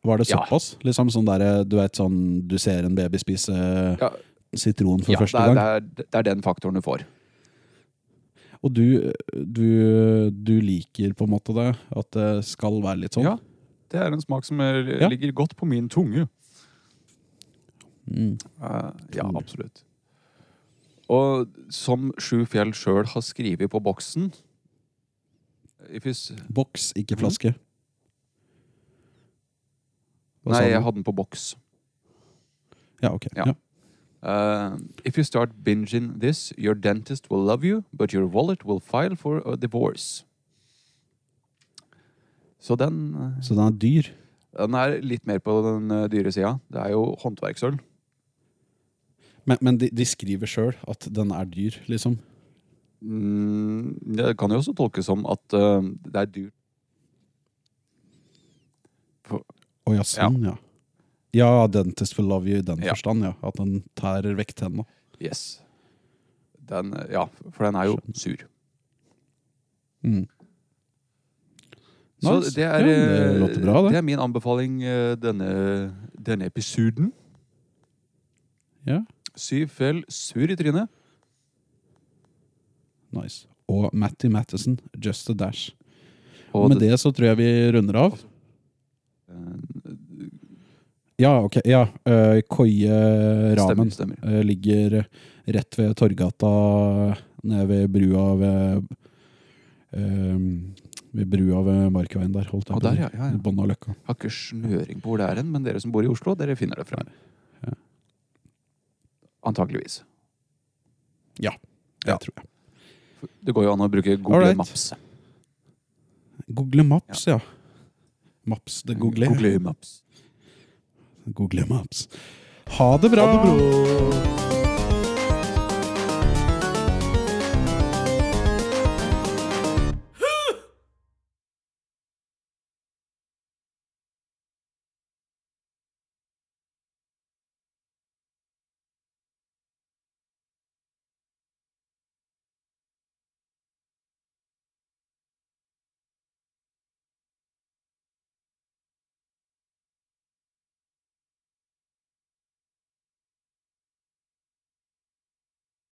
Speaker 2: Var det
Speaker 1: Ja.
Speaker 2: såpass? Liksom sånn der, du vet sånn du ser en baby spise
Speaker 1: Ja.
Speaker 2: sitron for
Speaker 1: Ja, det
Speaker 2: første
Speaker 1: er,
Speaker 2: gang?
Speaker 1: det, er, det er den faktoren du får.
Speaker 2: Og du, du, du liker på en måte det? At det skal være litt sånn?
Speaker 1: Ja. Det er en smak som
Speaker 2: Ja.
Speaker 1: ligger godt på min tunge.
Speaker 2: Mm.
Speaker 1: Eh, ja, absolutt. Og som Sju Fjell sjøl har skrevet på boksen If you s-
Speaker 2: Boks, ikke flaske.
Speaker 1: Mm.
Speaker 2: Hva sa
Speaker 1: Nei,
Speaker 2: du?
Speaker 1: jeg hadde den på boks.
Speaker 2: Ja, ok.
Speaker 1: Ja.
Speaker 2: Ja.
Speaker 1: Uh, if you start binging this, your dentist will love you, but your wallet will file for a divorce. Så den, eh,
Speaker 2: Så den er dyr.
Speaker 1: den er litt mer på den eh, dyre sida. Det er jo håndverksøl.
Speaker 2: Men, men de, de skriver sjøl at den er dyr, liksom.
Speaker 1: Mm, det kan jo også tolkes som at eh, det er dyrt.
Speaker 2: Å ja, sånn, ja. ja. dentist will love you i den
Speaker 1: Ja.
Speaker 2: forstand, ja. At den tærer vekk tenna.
Speaker 1: Yes. Den, eh, ja, for den er jo sur.
Speaker 2: Mm.
Speaker 1: Så
Speaker 2: Nice.
Speaker 1: det er,
Speaker 2: Ja, det
Speaker 1: eh,
Speaker 2: låter bra, det.
Speaker 1: er min anbefaling eh, denne, denne episoden.
Speaker 2: Ja,
Speaker 1: Syv fjell sur i trynet.
Speaker 2: nice. Og Matty Mattison, Just a Dash.
Speaker 1: Og
Speaker 2: med det så tror jeg vi runder av.
Speaker 1: eh,
Speaker 2: Ja, ok. Ja, øh, Koie Ramen
Speaker 1: Stemmer, stemmer.
Speaker 2: øh, ligger rett ved Torgata, nede ved brua ved øh, Ved brua ved Markveien der, holdt jeg
Speaker 1: Og
Speaker 2: på å
Speaker 1: der,
Speaker 2: si.
Speaker 1: ja, ja, ja.
Speaker 2: Bånn av løkka.
Speaker 1: Har ikke snøring på hvor det er hen, men dere som bor i Oslo, dere finner det frem.
Speaker 2: Ja.
Speaker 1: Antakeligvis.
Speaker 2: Ja, det
Speaker 1: Ja.
Speaker 2: tror jeg.
Speaker 1: Det går jo an å bruke Google
Speaker 2: Alright.
Speaker 1: Maps.
Speaker 2: Google Maps, ja. Maps, det googler.
Speaker 1: Google Maps.
Speaker 2: Google Maps. Ha det bra!
Speaker 1: bra.